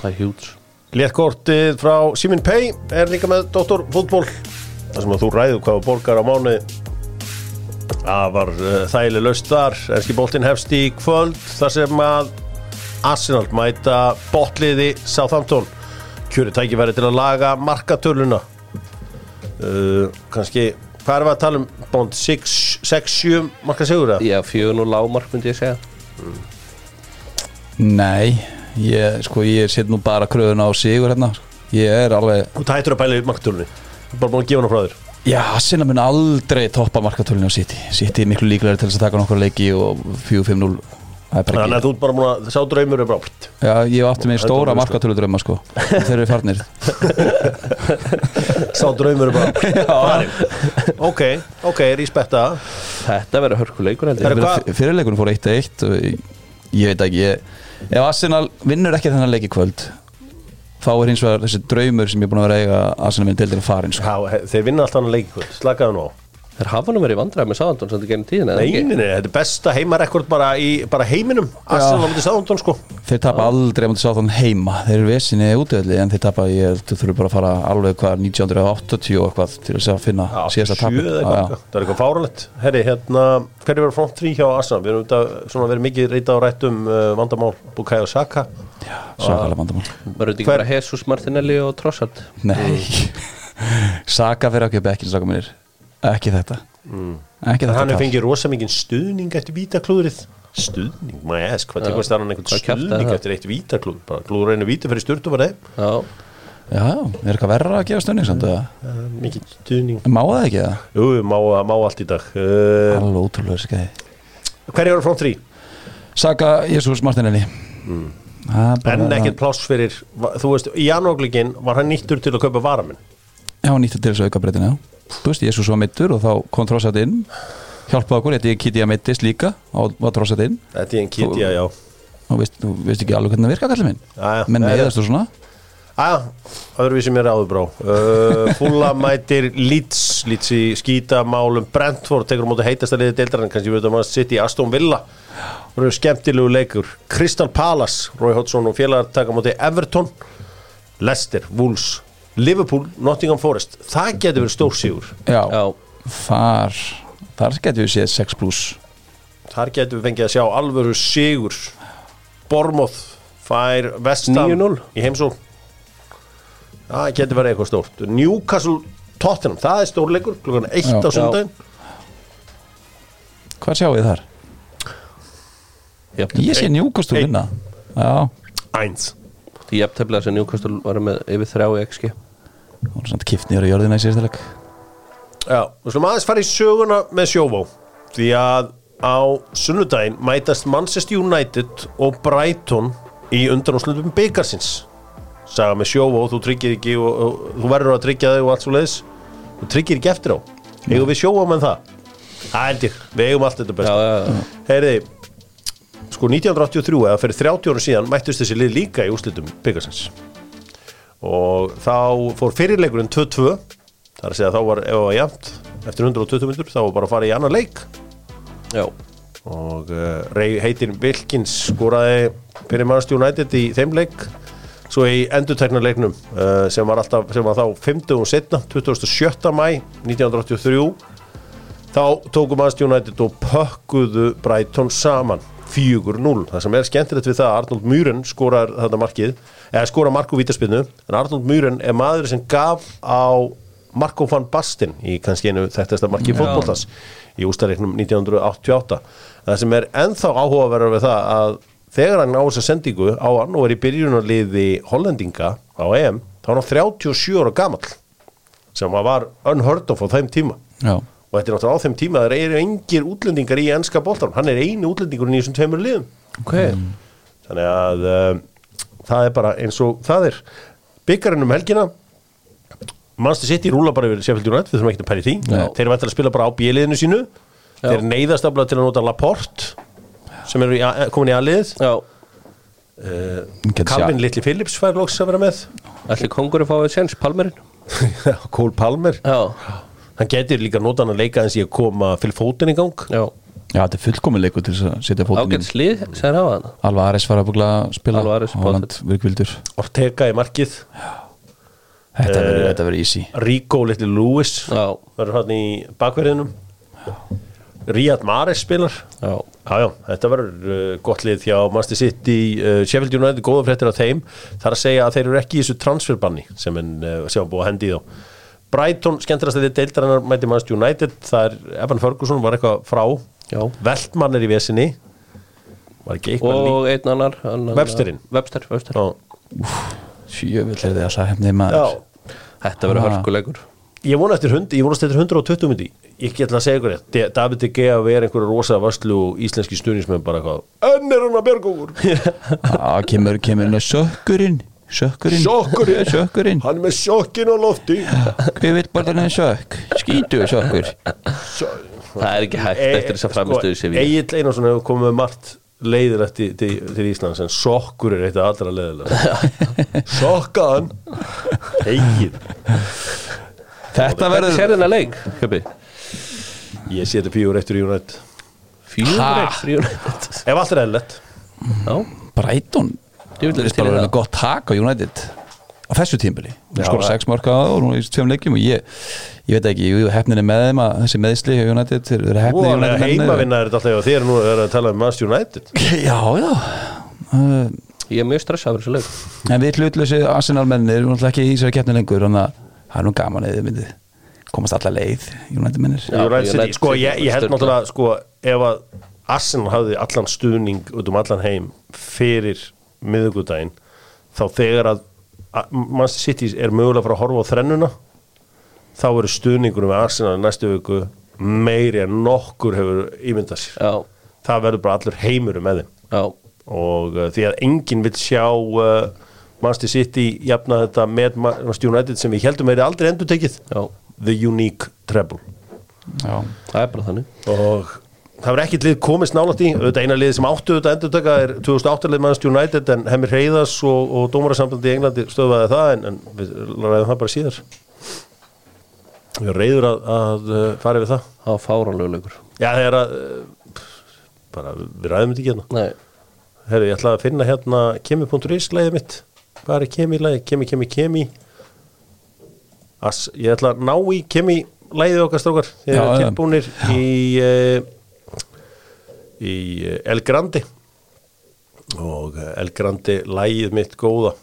Speaker 2: Það er hjúts
Speaker 1: Léttkortið frá Simin Pei er líka með Dr. Fútból þar sem að þú ræður hvað þú borgar á mánu Það var uh, þægileg laust þar Erski bóltinn hefst í kvöld þar sem að Arsenal mæta botliði Southampton Kjöri tækifæri til að laga markatöluna uh, Kanski hvað er við að tala um bónd 6-7 marka sigur það?
Speaker 2: Já, fjögun og lágmark myndi ég segja
Speaker 3: Nei, ég, sko, ég set nú bara kröðuna á sigur hérna sko. Ég er alveg,
Speaker 1: Þú tættur að pæla í markatölunni Bara búin að gefa hana frá þér
Speaker 3: já, sinna mun aldrei toppa markatölinu á City City er miklu líklega til þess að taka nokkur leiki og 4-5-0 Það er
Speaker 1: Þannig
Speaker 3: bara
Speaker 1: að
Speaker 3: ekki
Speaker 1: þú ert bara múin að sá draumur er brátt
Speaker 3: Já, ég átti mig
Speaker 1: Þetta
Speaker 3: stóra
Speaker 1: var-
Speaker 3: markatölu drömma sko Þeir eru farnir
Speaker 1: Sá draumur bara farinn. Ok, ok, respekta
Speaker 2: Þetta verður hörkuleikur held
Speaker 1: Það
Speaker 2: ég
Speaker 1: er- hvað-
Speaker 3: Fyrirleikunum fór 1-1 og ég- Ég veit ekki ég, Ef Arsenal vinnur ekki þennan leiki í kvöld Þá er hins vegar þessi draumur sem ég er búin að vera að eiga að Arsenal minn deildir að farin sko.
Speaker 1: Há, Þeir vinna alltaf hann að leikikvöld, slakaðu nú á
Speaker 2: Þeir hafa nú verið vandræði með Sáðandón sem þetta gerum tíðina eða
Speaker 1: Nei,
Speaker 2: ekki?
Speaker 1: nei, nei, þetta er besta heimarekord bara í bara heiminum Arsenal á myndi sáðundum sko
Speaker 3: Þeir tapa aldrei að maður sá þann heima Þeir eru vesinni útöðli en þeir tapa Ég held þú þurfum bara að fara alveg hvað 1980 og eitthvað til þess að finna
Speaker 1: Já, sjö
Speaker 3: síðasta tapi
Speaker 1: eða
Speaker 3: Já,
Speaker 1: eitthvað.
Speaker 3: já.
Speaker 1: Það er eitthvað fáralegt Herri, hérna, hverju verður front 3 hjá Arsenal? Við erum þetta svona verið mikið reyta á rættum uh, vandamál Bukai og Saka
Speaker 3: Svakalega vandamál
Speaker 2: Verður þetta ekki
Speaker 1: Hver-
Speaker 2: bara Jesus Martinelli og Trossard
Speaker 3: Nei Saka fyrir ekki bekkin strákar mínir Ekki þetta Ekki
Speaker 1: Mm. En
Speaker 3: þetta
Speaker 1: hann
Speaker 3: kall.
Speaker 1: hefur fengið rosa mikið stuðning eftir vítaklúðrið Stuðning, maður esk, hvað tekur stærðan einhvern
Speaker 2: Hvað kjaftaði
Speaker 1: stuðning
Speaker 2: það?
Speaker 1: eftir eitt vítaklúð bara klúður einu víti fyrir sturt og var þeim
Speaker 2: Já,
Speaker 3: Já, er eitthvað verra að gefa stöðning samt eða?
Speaker 1: Uh, Mikið stuðning
Speaker 3: Má það ekki það?
Speaker 1: Jú, má, má allt í dag uh,
Speaker 3: Alveg ótrúlega skæði
Speaker 1: Hverju eru front 3?
Speaker 3: Saka Jésús Martinelli mm.
Speaker 1: En ekkert pláss fyrir va- Þú veist, í janúarglíkin var hann nýttur til að kaupa varamenn
Speaker 3: Já, hann nýtti til þess að auka breytina Þú veist, Jésús var meittur og þá kom trossat inn Hjálpaði okkur, þetta ég kitti að meittist líka og var trossat inn
Speaker 1: Þetta er einn kitja, já
Speaker 3: Þú veist, þú veist ekki alveg hvernig það virka kallið minn
Speaker 1: Já, já.
Speaker 3: Menn
Speaker 1: Já, já.
Speaker 3: meðast og svona
Speaker 1: Æja, öðruvísi mér áður brá uh, Fúla mætir Leeds Leeds í skítamálum Brentford tekur á móti heitasta liðið deildarinn kannski við veitum að sitt í Aston Villa Það eru skemmtilegu leikur Crystal Palace, Roy Hodgson og félagar taka á móti Everton Leicester, Wolves Liverpool, Nottingham Forest Það getur verið stórsígur
Speaker 3: Já,
Speaker 2: Já.
Speaker 3: Þar, þar getum við séð 6 pluss
Speaker 1: Þar getum við fengið að sjá alvöru sigur Bormoth fær Vestam
Speaker 2: 9-0.
Speaker 1: í heimsól Það getur verið eitthvað stórt Newcastle Tottenham, það er stórleikur klukkan 1
Speaker 3: Já.
Speaker 1: á sundaginn
Speaker 3: Hvað sjáum við þar?
Speaker 2: jafntefli.
Speaker 3: Ég sé
Speaker 1: Einn.
Speaker 3: njúkast úr
Speaker 1: Einn.
Speaker 3: vinna Já,
Speaker 1: Eins
Speaker 2: Því jafntefnilega sem Newcastle var með yfir þrjá í XG
Speaker 3: það var svona kipt nýra í jörðina í síðastaleg
Speaker 1: Já, við slum aðeins fara í söguna með sjóvó Því að á sunnudaginn mætast Manchester United og Brighton í undanúslutum byggarsins Saga með sjóvó, þú tryggir ekki og, og, þú verður að tryggja þig og allt svo leiðis þú tryggir ekki eftir á eigum við sjóvó með það Það held ég, við eigum allt þetta
Speaker 2: Já,
Speaker 1: besta
Speaker 2: já, já
Speaker 1: Heyriði, sko 1983 eða fyrir 30 árum síðan mættust þessi lið líka í úrslitum byggarsins og þá fór fyrirleikurinn 2-2 þar að segja að þá var ef það var jæmt eftir 120 minnur þá var bara að fara í annan leik eh,
Speaker 2: Já,
Speaker 1: og uh, Rey heitin Vilkins skoraði fyrir Manchester United í þeim leik svo í endurteknarleiknum uh, sem var alltaf, sem var þá 50 og setna, 27. mæ 1983 þá tóku Manchester United og pökkuðu Brighton saman 4-0, það sem er skemmtilegt við það að Arnold Múren skorar þetta markið eða skorar Marko Vítaspinnu, en Arnold Múren er maður sem gaf á Marko van Basten í kannski einu þekktasta marki fótboltas í ústareiknum 1988 það sem er ennþá áhugaverðar við það að þegar hann á þessa sendingu á hann og er í byrjunarliði Hollendinga á EM, þá er hann 37 ára gamall sem að var unheard of á þeim tíma
Speaker 3: Já.
Speaker 1: og þetta er náttúrulega á þeim tíma að það eru engir útlendingar í ennska boltarum, hann er eini útlendingur í þessum tveimur liðum Mm.
Speaker 2: okay.
Speaker 1: þannig að um, það er bara eins og það er byggarinn um helgina Manchester City rúla bara yfir Sheffield United við þurfum ekki að pæri því,
Speaker 3: Nei.
Speaker 1: þeir eru væntanlega að spila bara á bíliðinu sínu þeir neyðast aflega til að nota Laporte sem eru í A- komin í aðliðið
Speaker 2: Já,
Speaker 3: Gæti sé-
Speaker 1: Calvin Little Phillips fær loks að vera með
Speaker 2: allir kongurinn fáið séns, Palmerinn
Speaker 1: Cole Palmer
Speaker 2: Já,
Speaker 1: hann getur líka nota hann að leika eins í að koma fyrir fótinn í gang
Speaker 2: já,
Speaker 3: Já, þetta er fullkomin leikur til þess að setja fótinn
Speaker 2: ágætt
Speaker 3: inn
Speaker 2: slið, segir hafa hann
Speaker 3: Alva Ares var að búkla að spila
Speaker 2: Alva Ares,
Speaker 3: Holland, virkvildur
Speaker 1: Ortega í markið
Speaker 3: Þetta verður- þetta verður easy
Speaker 1: Rico Little Lewis
Speaker 2: Já,
Speaker 1: verður hann í bakverðinum Riyad Mahrez spilar
Speaker 2: já,
Speaker 1: Já, já, þetta verður uh, gott lið hjá Manchester City, uh, Sheffield United, góða fréttir af þeim, það er að segja að þeir eru ekki í þessu transferbanni sem en uh, sem var búið að hendi í þá. Brighton, skemmtilegast að þið deildarinnar mæti Manchester United, það er Evan Ferguson var eitthvað frá,
Speaker 2: já
Speaker 1: Veltmann er í vesinni, var ekki eitthvað líka.
Speaker 2: Og einn annar annan,
Speaker 1: Websterinn.
Speaker 2: Webster, Webster
Speaker 3: Sjöfull er þið alltaf hefnið maður
Speaker 1: Já,
Speaker 2: Þetta verður
Speaker 3: Ah.
Speaker 2: hörkulegur
Speaker 1: ég vona eftir, hund, ég vonast eftir 120 myndi, ég get að segja ykkur rétt, De- David De Gea verið einhverja rosa vörslu og íslenski stuðnismenn bara eitthvað, enn er hann að björg okkur,
Speaker 3: Já, kemur, kemur inn að sökkurinn Sökkurinn
Speaker 1: Sökkurinn.
Speaker 3: Sökkurinn
Speaker 1: hann er með sjokkin á lofti.
Speaker 3: Hver vill bara þennan sökk Skítu sökkur
Speaker 2: Það er ekki
Speaker 1: Eh,
Speaker 2: hægt eftir
Speaker 1: sko,
Speaker 2: þess að framistuðu sér við
Speaker 1: Egil Einarsson hefur komið með margt leiðilegt til, til, til Íslands en sokkur er eitt af allra leiðilega sokkaðan Egil,
Speaker 3: Þetta verður
Speaker 2: Sér þennan leik, köpi
Speaker 1: ég seti fjór eittur í United
Speaker 2: Fjóður, fjóður
Speaker 1: ef allt er eðlilegt
Speaker 2: Já,
Speaker 3: Brighton
Speaker 2: Ég vil
Speaker 3: Það er
Speaker 2: til í
Speaker 3: bara
Speaker 2: það.
Speaker 3: verið gott tak á United á þessu tímbili
Speaker 1: Já,
Speaker 3: Hún skora
Speaker 1: það-
Speaker 3: 6 marka og hún er í tveim leikjum og ég, ég veit ekki, jú, hefnin er með þeim að þessi meðsli hjá United, þeir eru hefnir
Speaker 1: Voðalega heimavinna er þetta alltaf hjá þér nú er að tala um Manchester United
Speaker 3: Já, já uh,
Speaker 2: ég er mjög stressað fyrir þessu leik
Speaker 3: En við hlutlösi Arsenal mennir og náttúrulega ekki í þessari keppni lengur þannig að það er nú gaman eða myndi komast alla leið United mennir
Speaker 2: Já,
Speaker 1: United City,
Speaker 2: United
Speaker 1: sko ég,
Speaker 2: City
Speaker 1: ég held
Speaker 2: sturla.
Speaker 1: náttúrulega sko ef að Arsenal hafði allan stuðning út um allan heim fyrir miðugudaginn þá þegar að að Manchester City er mögulega að fara að horfa á þrennuna þá eru stuðningunum við Arsenal í næstu viku meiri en nokkur hefur ímyndað sér
Speaker 2: Já,
Speaker 1: það verður bara allur heimur með þeim
Speaker 2: já,
Speaker 1: og uh, því að enginn vil sjá uh, Manchester City jafna þetta með Ma- Manchester United sem við heldum er aldrei endur tekið
Speaker 2: já
Speaker 1: The Unique Treble
Speaker 3: Já,
Speaker 2: Það er bara þannig
Speaker 1: og það var ekkert lið komist nálægt í auðvitað eina lið sem áttu auðvitað endurtöka er 2008 lið Manchester United en Hemir Heiðas og, og dómarasambandi í Englandi stöðvaði það en, en við ræðum það bara síðar við erum reyður að, að uh, fara yfir það
Speaker 2: Það var fáránlegur leikur
Speaker 1: já það er að uh, bara við ræðum þetta ekki hérna
Speaker 2: Nei,
Speaker 1: herru ég ætla að finna hérna kemi.is lægið mitt hvað er kemi lægið kemi kemi kemi As, ég ætla að ná í kemi lægið okkar strókar þeir
Speaker 3: Já,
Speaker 1: eru
Speaker 3: já.
Speaker 1: tilbúnir í uh, í eh, El Grandi og eh, El Grandi lægið mitt góða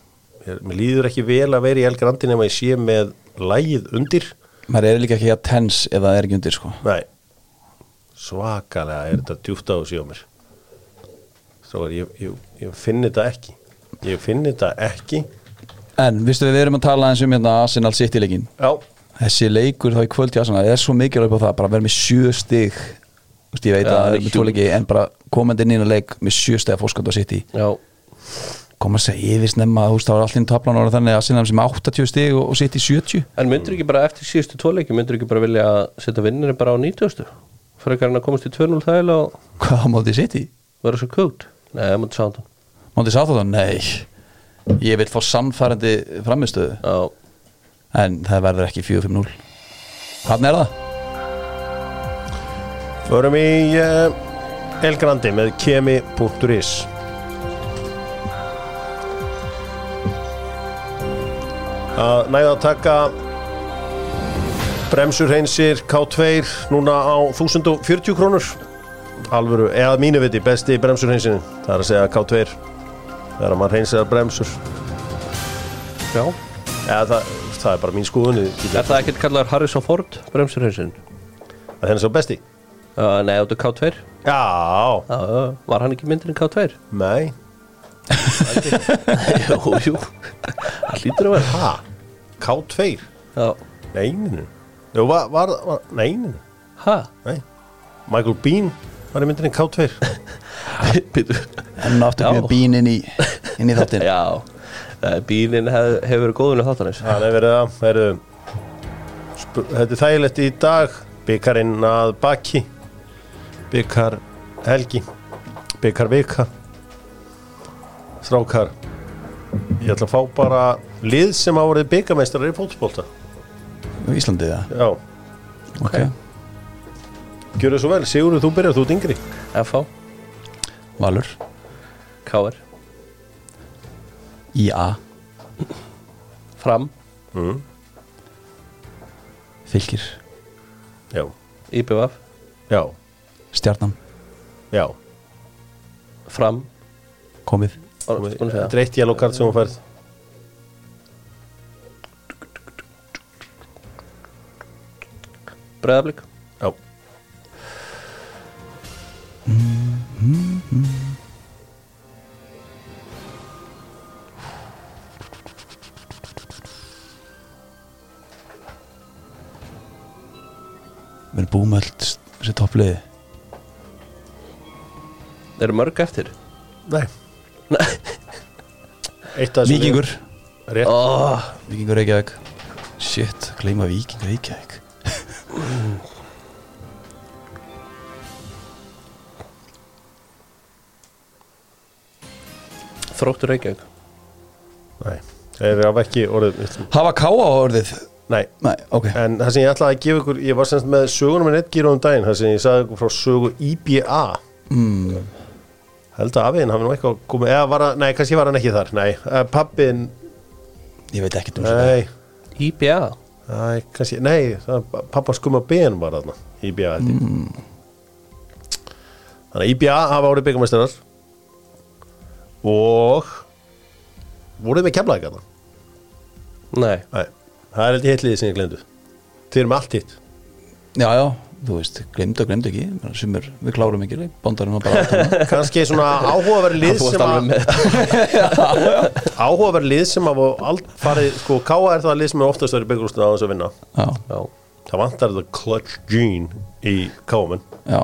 Speaker 1: Ég- mér líður ekki vel að vera í El Grandi nema ég sé með lægið undir
Speaker 3: maður er líka ekki að tens ef það er ekki undir sko
Speaker 1: nei svakalega er þetta djúft á þessu hjá mér strókar ég, ég, ég finn þetta ekki ég finn þetta ekki
Speaker 3: En, vistu við, við erum að tala eins um hérna Arsenal City leikin
Speaker 1: já
Speaker 3: þessi leikur þá í kvöld í Arsenal er svo mikilvæg á það, bara vera með sjö stig Þú veist, ég veit
Speaker 2: Já,
Speaker 3: að
Speaker 2: það
Speaker 3: það
Speaker 2: er
Speaker 3: er með
Speaker 2: huge.
Speaker 3: tvo leiki en bara komandi inn í að leik með sjö stig að fórskönda á City
Speaker 2: já,
Speaker 3: kom að segja yfir snemma, þú veist, þá er allir tablan orðið þannig að Arsenal sem 80 stig og, og City 70
Speaker 2: en myndur ekki bara eftir síðustu tvoleiki myndur ekki bara vilja að setja vinnirinn bara á 90 frekar en að komast í 2-0 þægilega og
Speaker 3: Hvað á móti City?
Speaker 2: vera svo kókt Nei, það mútti sáðan
Speaker 3: Móti Sáþóðan? Nei Ég vil fá samfærandi framistöðu
Speaker 2: Já,
Speaker 3: en það verður ekki 4-5-0 Þannig er það
Speaker 1: Förum í uh, El Grandi með kemi.is að næða að taka bremsurheinsir K2 núna á 1040 krónur alvöru, eða að mínu viti besti bremsurheinsin það er að segja K2 þegar maður hreinsir bremsur
Speaker 2: Já.
Speaker 1: eða það, það er bara mín skoðun ég get-
Speaker 2: Er það ekkert kallar Harrison Ford, bremsurhausin?
Speaker 1: að henni svo besti
Speaker 2: Uh, nei, áttu K2
Speaker 1: já,
Speaker 2: Já, já, Var hann ekki myndir en K2?
Speaker 1: nei
Speaker 2: jú, jú Það hlýtur að vera
Speaker 1: ha, K2
Speaker 2: Já.
Speaker 1: neininu Jú, var, var, var, neininu
Speaker 2: Ha?
Speaker 1: nei. Michael Bean var í myndinni K2
Speaker 2: Býtu
Speaker 3: Enn aftur
Speaker 2: Já.
Speaker 3: komið bín inn í, inn í þáttin
Speaker 2: Já Eh, Bílinn hef, hefur verið góðunum þáttanins
Speaker 1: Það er verið að heru, sp- Þetta er þægilegt í dag Byggarinn að baki Byggar helgi Byggar vika Strákar Ég ætla að fá bara lið sem hafa verið byggarmeistrar í fótspólta
Speaker 3: Íslandið það
Speaker 1: Já,
Speaker 3: okay.
Speaker 1: gjörðu svo vel, Sigurður þú byrjar, þú ert yngri
Speaker 2: FH,
Speaker 3: Valur
Speaker 2: KR,
Speaker 3: IA
Speaker 2: Fram,
Speaker 3: Fylgir
Speaker 1: Já,
Speaker 2: IBVF
Speaker 1: já,
Speaker 3: Stjarnan
Speaker 1: já
Speaker 2: Fram
Speaker 3: Komið
Speaker 2: Ó, ertu búin að segja það?
Speaker 1: Þetta er eitt jælokart sem hún færð
Speaker 2: Breiðablík
Speaker 1: Já,
Speaker 3: Við erum búið með allt þessi toppliði
Speaker 2: Þeir eru mörg eftir
Speaker 1: nei
Speaker 2: Nei.
Speaker 1: Eitt af þessum
Speaker 3: Víkingur
Speaker 1: liðum. Rétt,
Speaker 2: oh,
Speaker 3: Víkingur Reykjavík Shit, gleyma Víkingur Reykjavík
Speaker 2: Þróttur Reykjavík
Speaker 1: nei Þeir hafa ekki orðið
Speaker 3: Hafa káa orðið
Speaker 1: Nei,
Speaker 3: Nei, ok
Speaker 1: En það sem ég ætlaði að gefa ykkur, ég var semst með sögunum en eitt gíru um daginn, það sem ég sagði ykkur frá sögu IBA.
Speaker 3: mm.
Speaker 1: Held að afiðin hafi nú eitthvað komið, eða var hann, nei, kannski var hann ekki þar, nei, Eh, pappin,
Speaker 3: Ég veit ekkert um þetta
Speaker 1: nei,
Speaker 2: IBA
Speaker 1: nei, kannski, nei, það- pappa skumma ben var þarna, IBA held ég.
Speaker 2: Mm.
Speaker 1: Þannig að IBA hafa árið byggamæsturar og voruð með kemlaði gana.
Speaker 2: Nei
Speaker 1: Nei, það er held ég hitliðið sem ég glemdu. Þið erum allt hitt.
Speaker 3: Já, já, þú veist, glemdu og glemdu ekki Bara Sumir, við klárum ekki leik Bondarinn var bara áttuna.
Speaker 1: Kannski svona áhugaverið lið
Speaker 2: Þú
Speaker 1: sem
Speaker 2: varst alveg
Speaker 1: að...
Speaker 2: með
Speaker 1: áhugaverð lið sem hafa ald- farið sko, K.A. er það lið sem er oftast verið byggurústin á þess að vinna
Speaker 3: Já,
Speaker 2: Já
Speaker 1: það vantar the clutch gene í K.A.
Speaker 3: já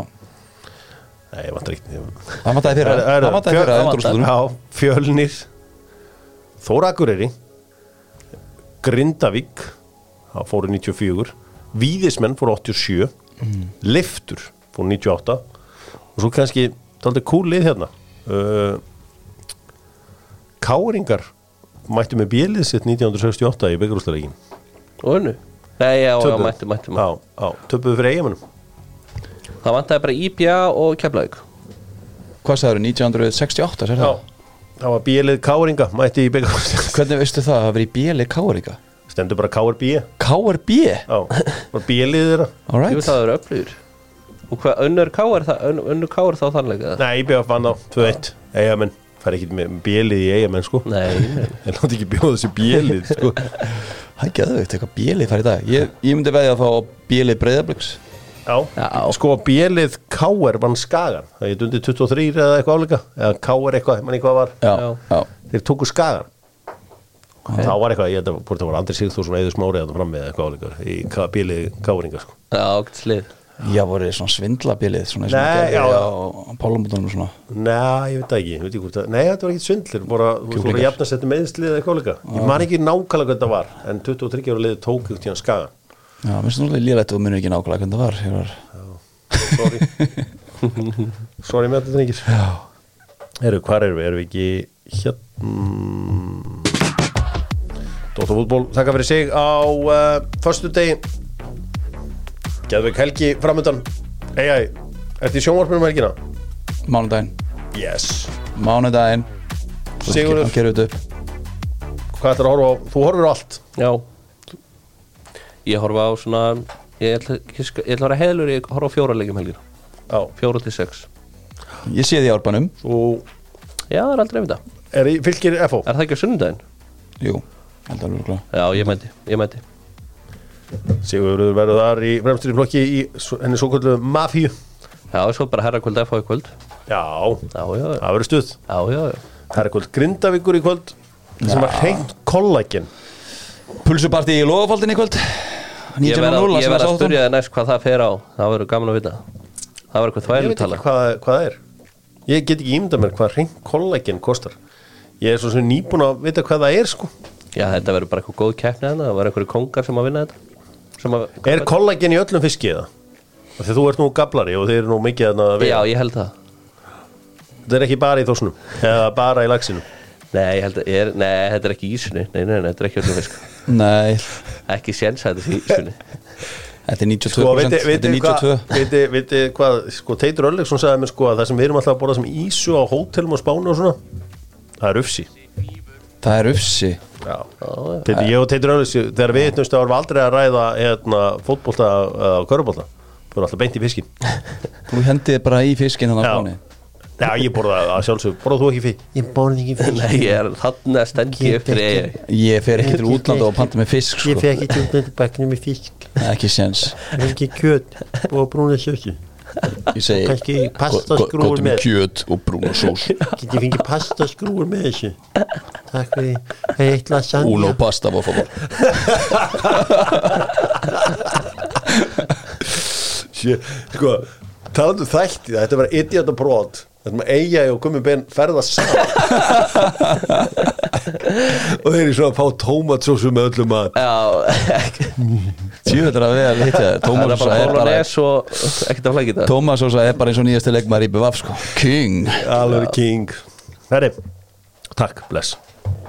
Speaker 1: nei, ég vantar ekki
Speaker 3: Það mattaði fyrir
Speaker 1: Er- er-
Speaker 3: Það mattaði fyrir að
Speaker 1: fjö-
Speaker 3: endurústunum
Speaker 1: Já, fjölnir Þórakureyri Grindavík það fóru 94 Víðismenn fóru 87 Leiftur fóru 98 og svo kannski taldi kúlið hérna uh, Káringar mættu með bjelið sitt 1968 í byggarústarleikin
Speaker 2: Og unnu Nei, já, já, mættu, mættu, mættu.
Speaker 1: töpuðu fyrir eigamennum
Speaker 2: Það vantaði bara IBA og Keflavík
Speaker 3: Hvað sagður, 1968, sér það?
Speaker 1: það var bjelið Káringa mætti í byggarústarleikin
Speaker 3: Hvernig veistu það að hafa verið í BL KR ykkar?
Speaker 1: stendur bara KRB já,
Speaker 3: KRB?
Speaker 1: var bjelið þeirra
Speaker 3: All
Speaker 2: Jú,
Speaker 3: right
Speaker 2: það eru öflugur Og hvað, önnur K er það, ön- önnur K er þá þannlega það?
Speaker 1: Nei, IBF vann á 2-1 Eigamenn, fær ekki með bjelið í eigamenn sko
Speaker 2: Nei, nei.
Speaker 1: Ég láti ekki bjóða þessu bjelið sko
Speaker 3: Það er geðveikt, eitthvað bjelið fær í dag Ég, ég myndi veðja að fá bjelið breyðabliks
Speaker 1: Já,
Speaker 2: Já.
Speaker 1: sko bjelið KR vann skagan Það er dundið 23 eða eitthvað áleika Eða KR eitthvað, mann eitthvað var
Speaker 3: Já,
Speaker 2: Já.
Speaker 3: já
Speaker 1: Þeir tóku skagan Þá var eitthvað, ég held að hvort það var Andri Sigþórsson Eður Smári að það fram með eitthvað áleika Í K- bjelið KR-inga sko
Speaker 2: Já, ágætt slið
Speaker 3: Já, voru þið svona svindla bjelið Svona eins og
Speaker 1: Nei,
Speaker 3: gerði
Speaker 1: já.
Speaker 3: á pálumútunum og svona
Speaker 1: Nei, ég veit það ekki, ég veit ekki hvort það Nei, þetta var ekki svindlir, bara, þú veist, voru
Speaker 3: Kjúklingar.
Speaker 1: jafnast þetta meðslið eða eitthvað áleika Ég man ekki nákvæmlega hvernig það var En 23 ára liðið tók ykkur tíðan skagan
Speaker 3: Já, mér finnst náttúrulega lýrætt og munir ekki nákvæmlega hvernig það var Ég var
Speaker 1: Sorry Sorry með þetta drengir Eru, hvar erum við? Erum við ekki hérna Dóttarfútból, þakka fyrir sig á uh, Föstu degi Geðveik helgi framöndan Eyjæ, ertu í sjónvarpinu um helgina?
Speaker 3: Mánudaginn
Speaker 1: Yes
Speaker 3: Mánudaginn
Speaker 1: Sigurður.
Speaker 3: Gerðu þetta upp
Speaker 1: hvað ætlar að horfa á, þú horfir á allt
Speaker 2: Já Ég horfa á svona Ég ætla, ég skal- ég ætla að vera heðlur Ég horfa á fjóra leikjum helgina
Speaker 1: Já,
Speaker 2: Fjóra til sex
Speaker 3: Ég sé því árbanum
Speaker 1: þú
Speaker 2: Já, það er aldrei við það
Speaker 1: er í fylgir FO
Speaker 2: Er það ekki á sunnudaginn?
Speaker 3: Jú, held alveg örugglega.
Speaker 2: Já, ég mæti, ég mæti
Speaker 1: Sigurður verður þar í fremstur í flokki í svo- henni svo kvöldu mafíu
Speaker 2: Já, svo bara herra kvöld FH í kvöld
Speaker 1: Já,
Speaker 2: Já, já, já,
Speaker 1: það verður stuð
Speaker 2: já, já, já.
Speaker 1: Það er kvöld grindavíkur í kvöld sem var hreint kollagen
Speaker 3: Pulsupartí í logafaldin í kvöld
Speaker 2: Ég verð að,
Speaker 3: 19.0
Speaker 2: ég verð að spyrja þið næst hvað það fer á Það verður gaman að vita Það verður eitthvað
Speaker 1: Ég veit
Speaker 2: þvælutala
Speaker 1: ekki hvað, hvað það er Ég get ekki ímyndað mér hvað hreint kollagen kostar Ég er svo sem nýbúin að vita hvað það er sko
Speaker 2: Já, þetta verður bara eitthvað góð keppni þarna Það verður einhverju kongar sem að vinna þetta sem að,
Speaker 1: Er kollagen í öllum fiski eða? Af Því þú ert nú gablari og þeir eru nú mikið þarna að
Speaker 2: Já,
Speaker 1: veiða.
Speaker 2: ég held það
Speaker 1: Þetta er ekki bara í þosnum eða bara í laxinum
Speaker 2: Nei, ég held að, ég er, nei, þetta er ekki í ísunni Nei, nei, nei, þetta er ekki öllum fisk
Speaker 3: Nei,
Speaker 2: Ekki séns að þetta er í ísunni
Speaker 3: þetta er 92%
Speaker 1: Sko, viti, viti,
Speaker 3: Þetta er
Speaker 1: hvað,
Speaker 3: 92
Speaker 1: viti, viti hvað sko, Teitur Örlegsson sagði mér sko að það sem við erum alltaf að borða sem ísu á hótelum og spánu og svona það er ufsi
Speaker 3: Það er ufsi
Speaker 2: Já,
Speaker 1: Teitur, ég og Teitur Örlegsson, þegar við eittnumst árum aldrei að ræða hérna, fótbolta eða uh, körubólta, þú er alltaf beint í fiskin
Speaker 3: Þú hendið bara í fiskinn þannig á
Speaker 1: Já,
Speaker 3: fáni
Speaker 1: Já ég borða það sjálfsög, borða þú ekki fisk? Ég borða ekki fisk
Speaker 2: Nei, ég er þannig að stendja upp fyrir eigin
Speaker 3: Ég fer ekki til útlanda og panta með fisk sko.
Speaker 5: fekk ekki útlöndu bækni með fisk
Speaker 3: Ekki séns
Speaker 5: ekki kjöt og brúna sjöki
Speaker 3: Ég segi
Speaker 5: Kannski pastaskrúfur
Speaker 3: go- go- gott með
Speaker 5: með.
Speaker 3: kjöt og brúna sós
Speaker 5: get ég fengið pastaskrúur með þessu takk fyrir það er eitt lasagna
Speaker 3: Uno pasta var fór
Speaker 1: Sjö, sko, talandu þætti þetta var idiota brot þetta maður eiga og gummi ben ferða saman og þeir eru svo að fá tómatsósu með öllum að
Speaker 2: Já,
Speaker 3: Tjöður að við að hitta
Speaker 2: það er
Speaker 3: Tómas
Speaker 2: bara
Speaker 3: er bara
Speaker 2: bólunes og ekkert að flækja það
Speaker 3: Tómas Sosa er bara eins og nýjasti leikmaður í BVF sko King
Speaker 1: alveg king herri, takk, bless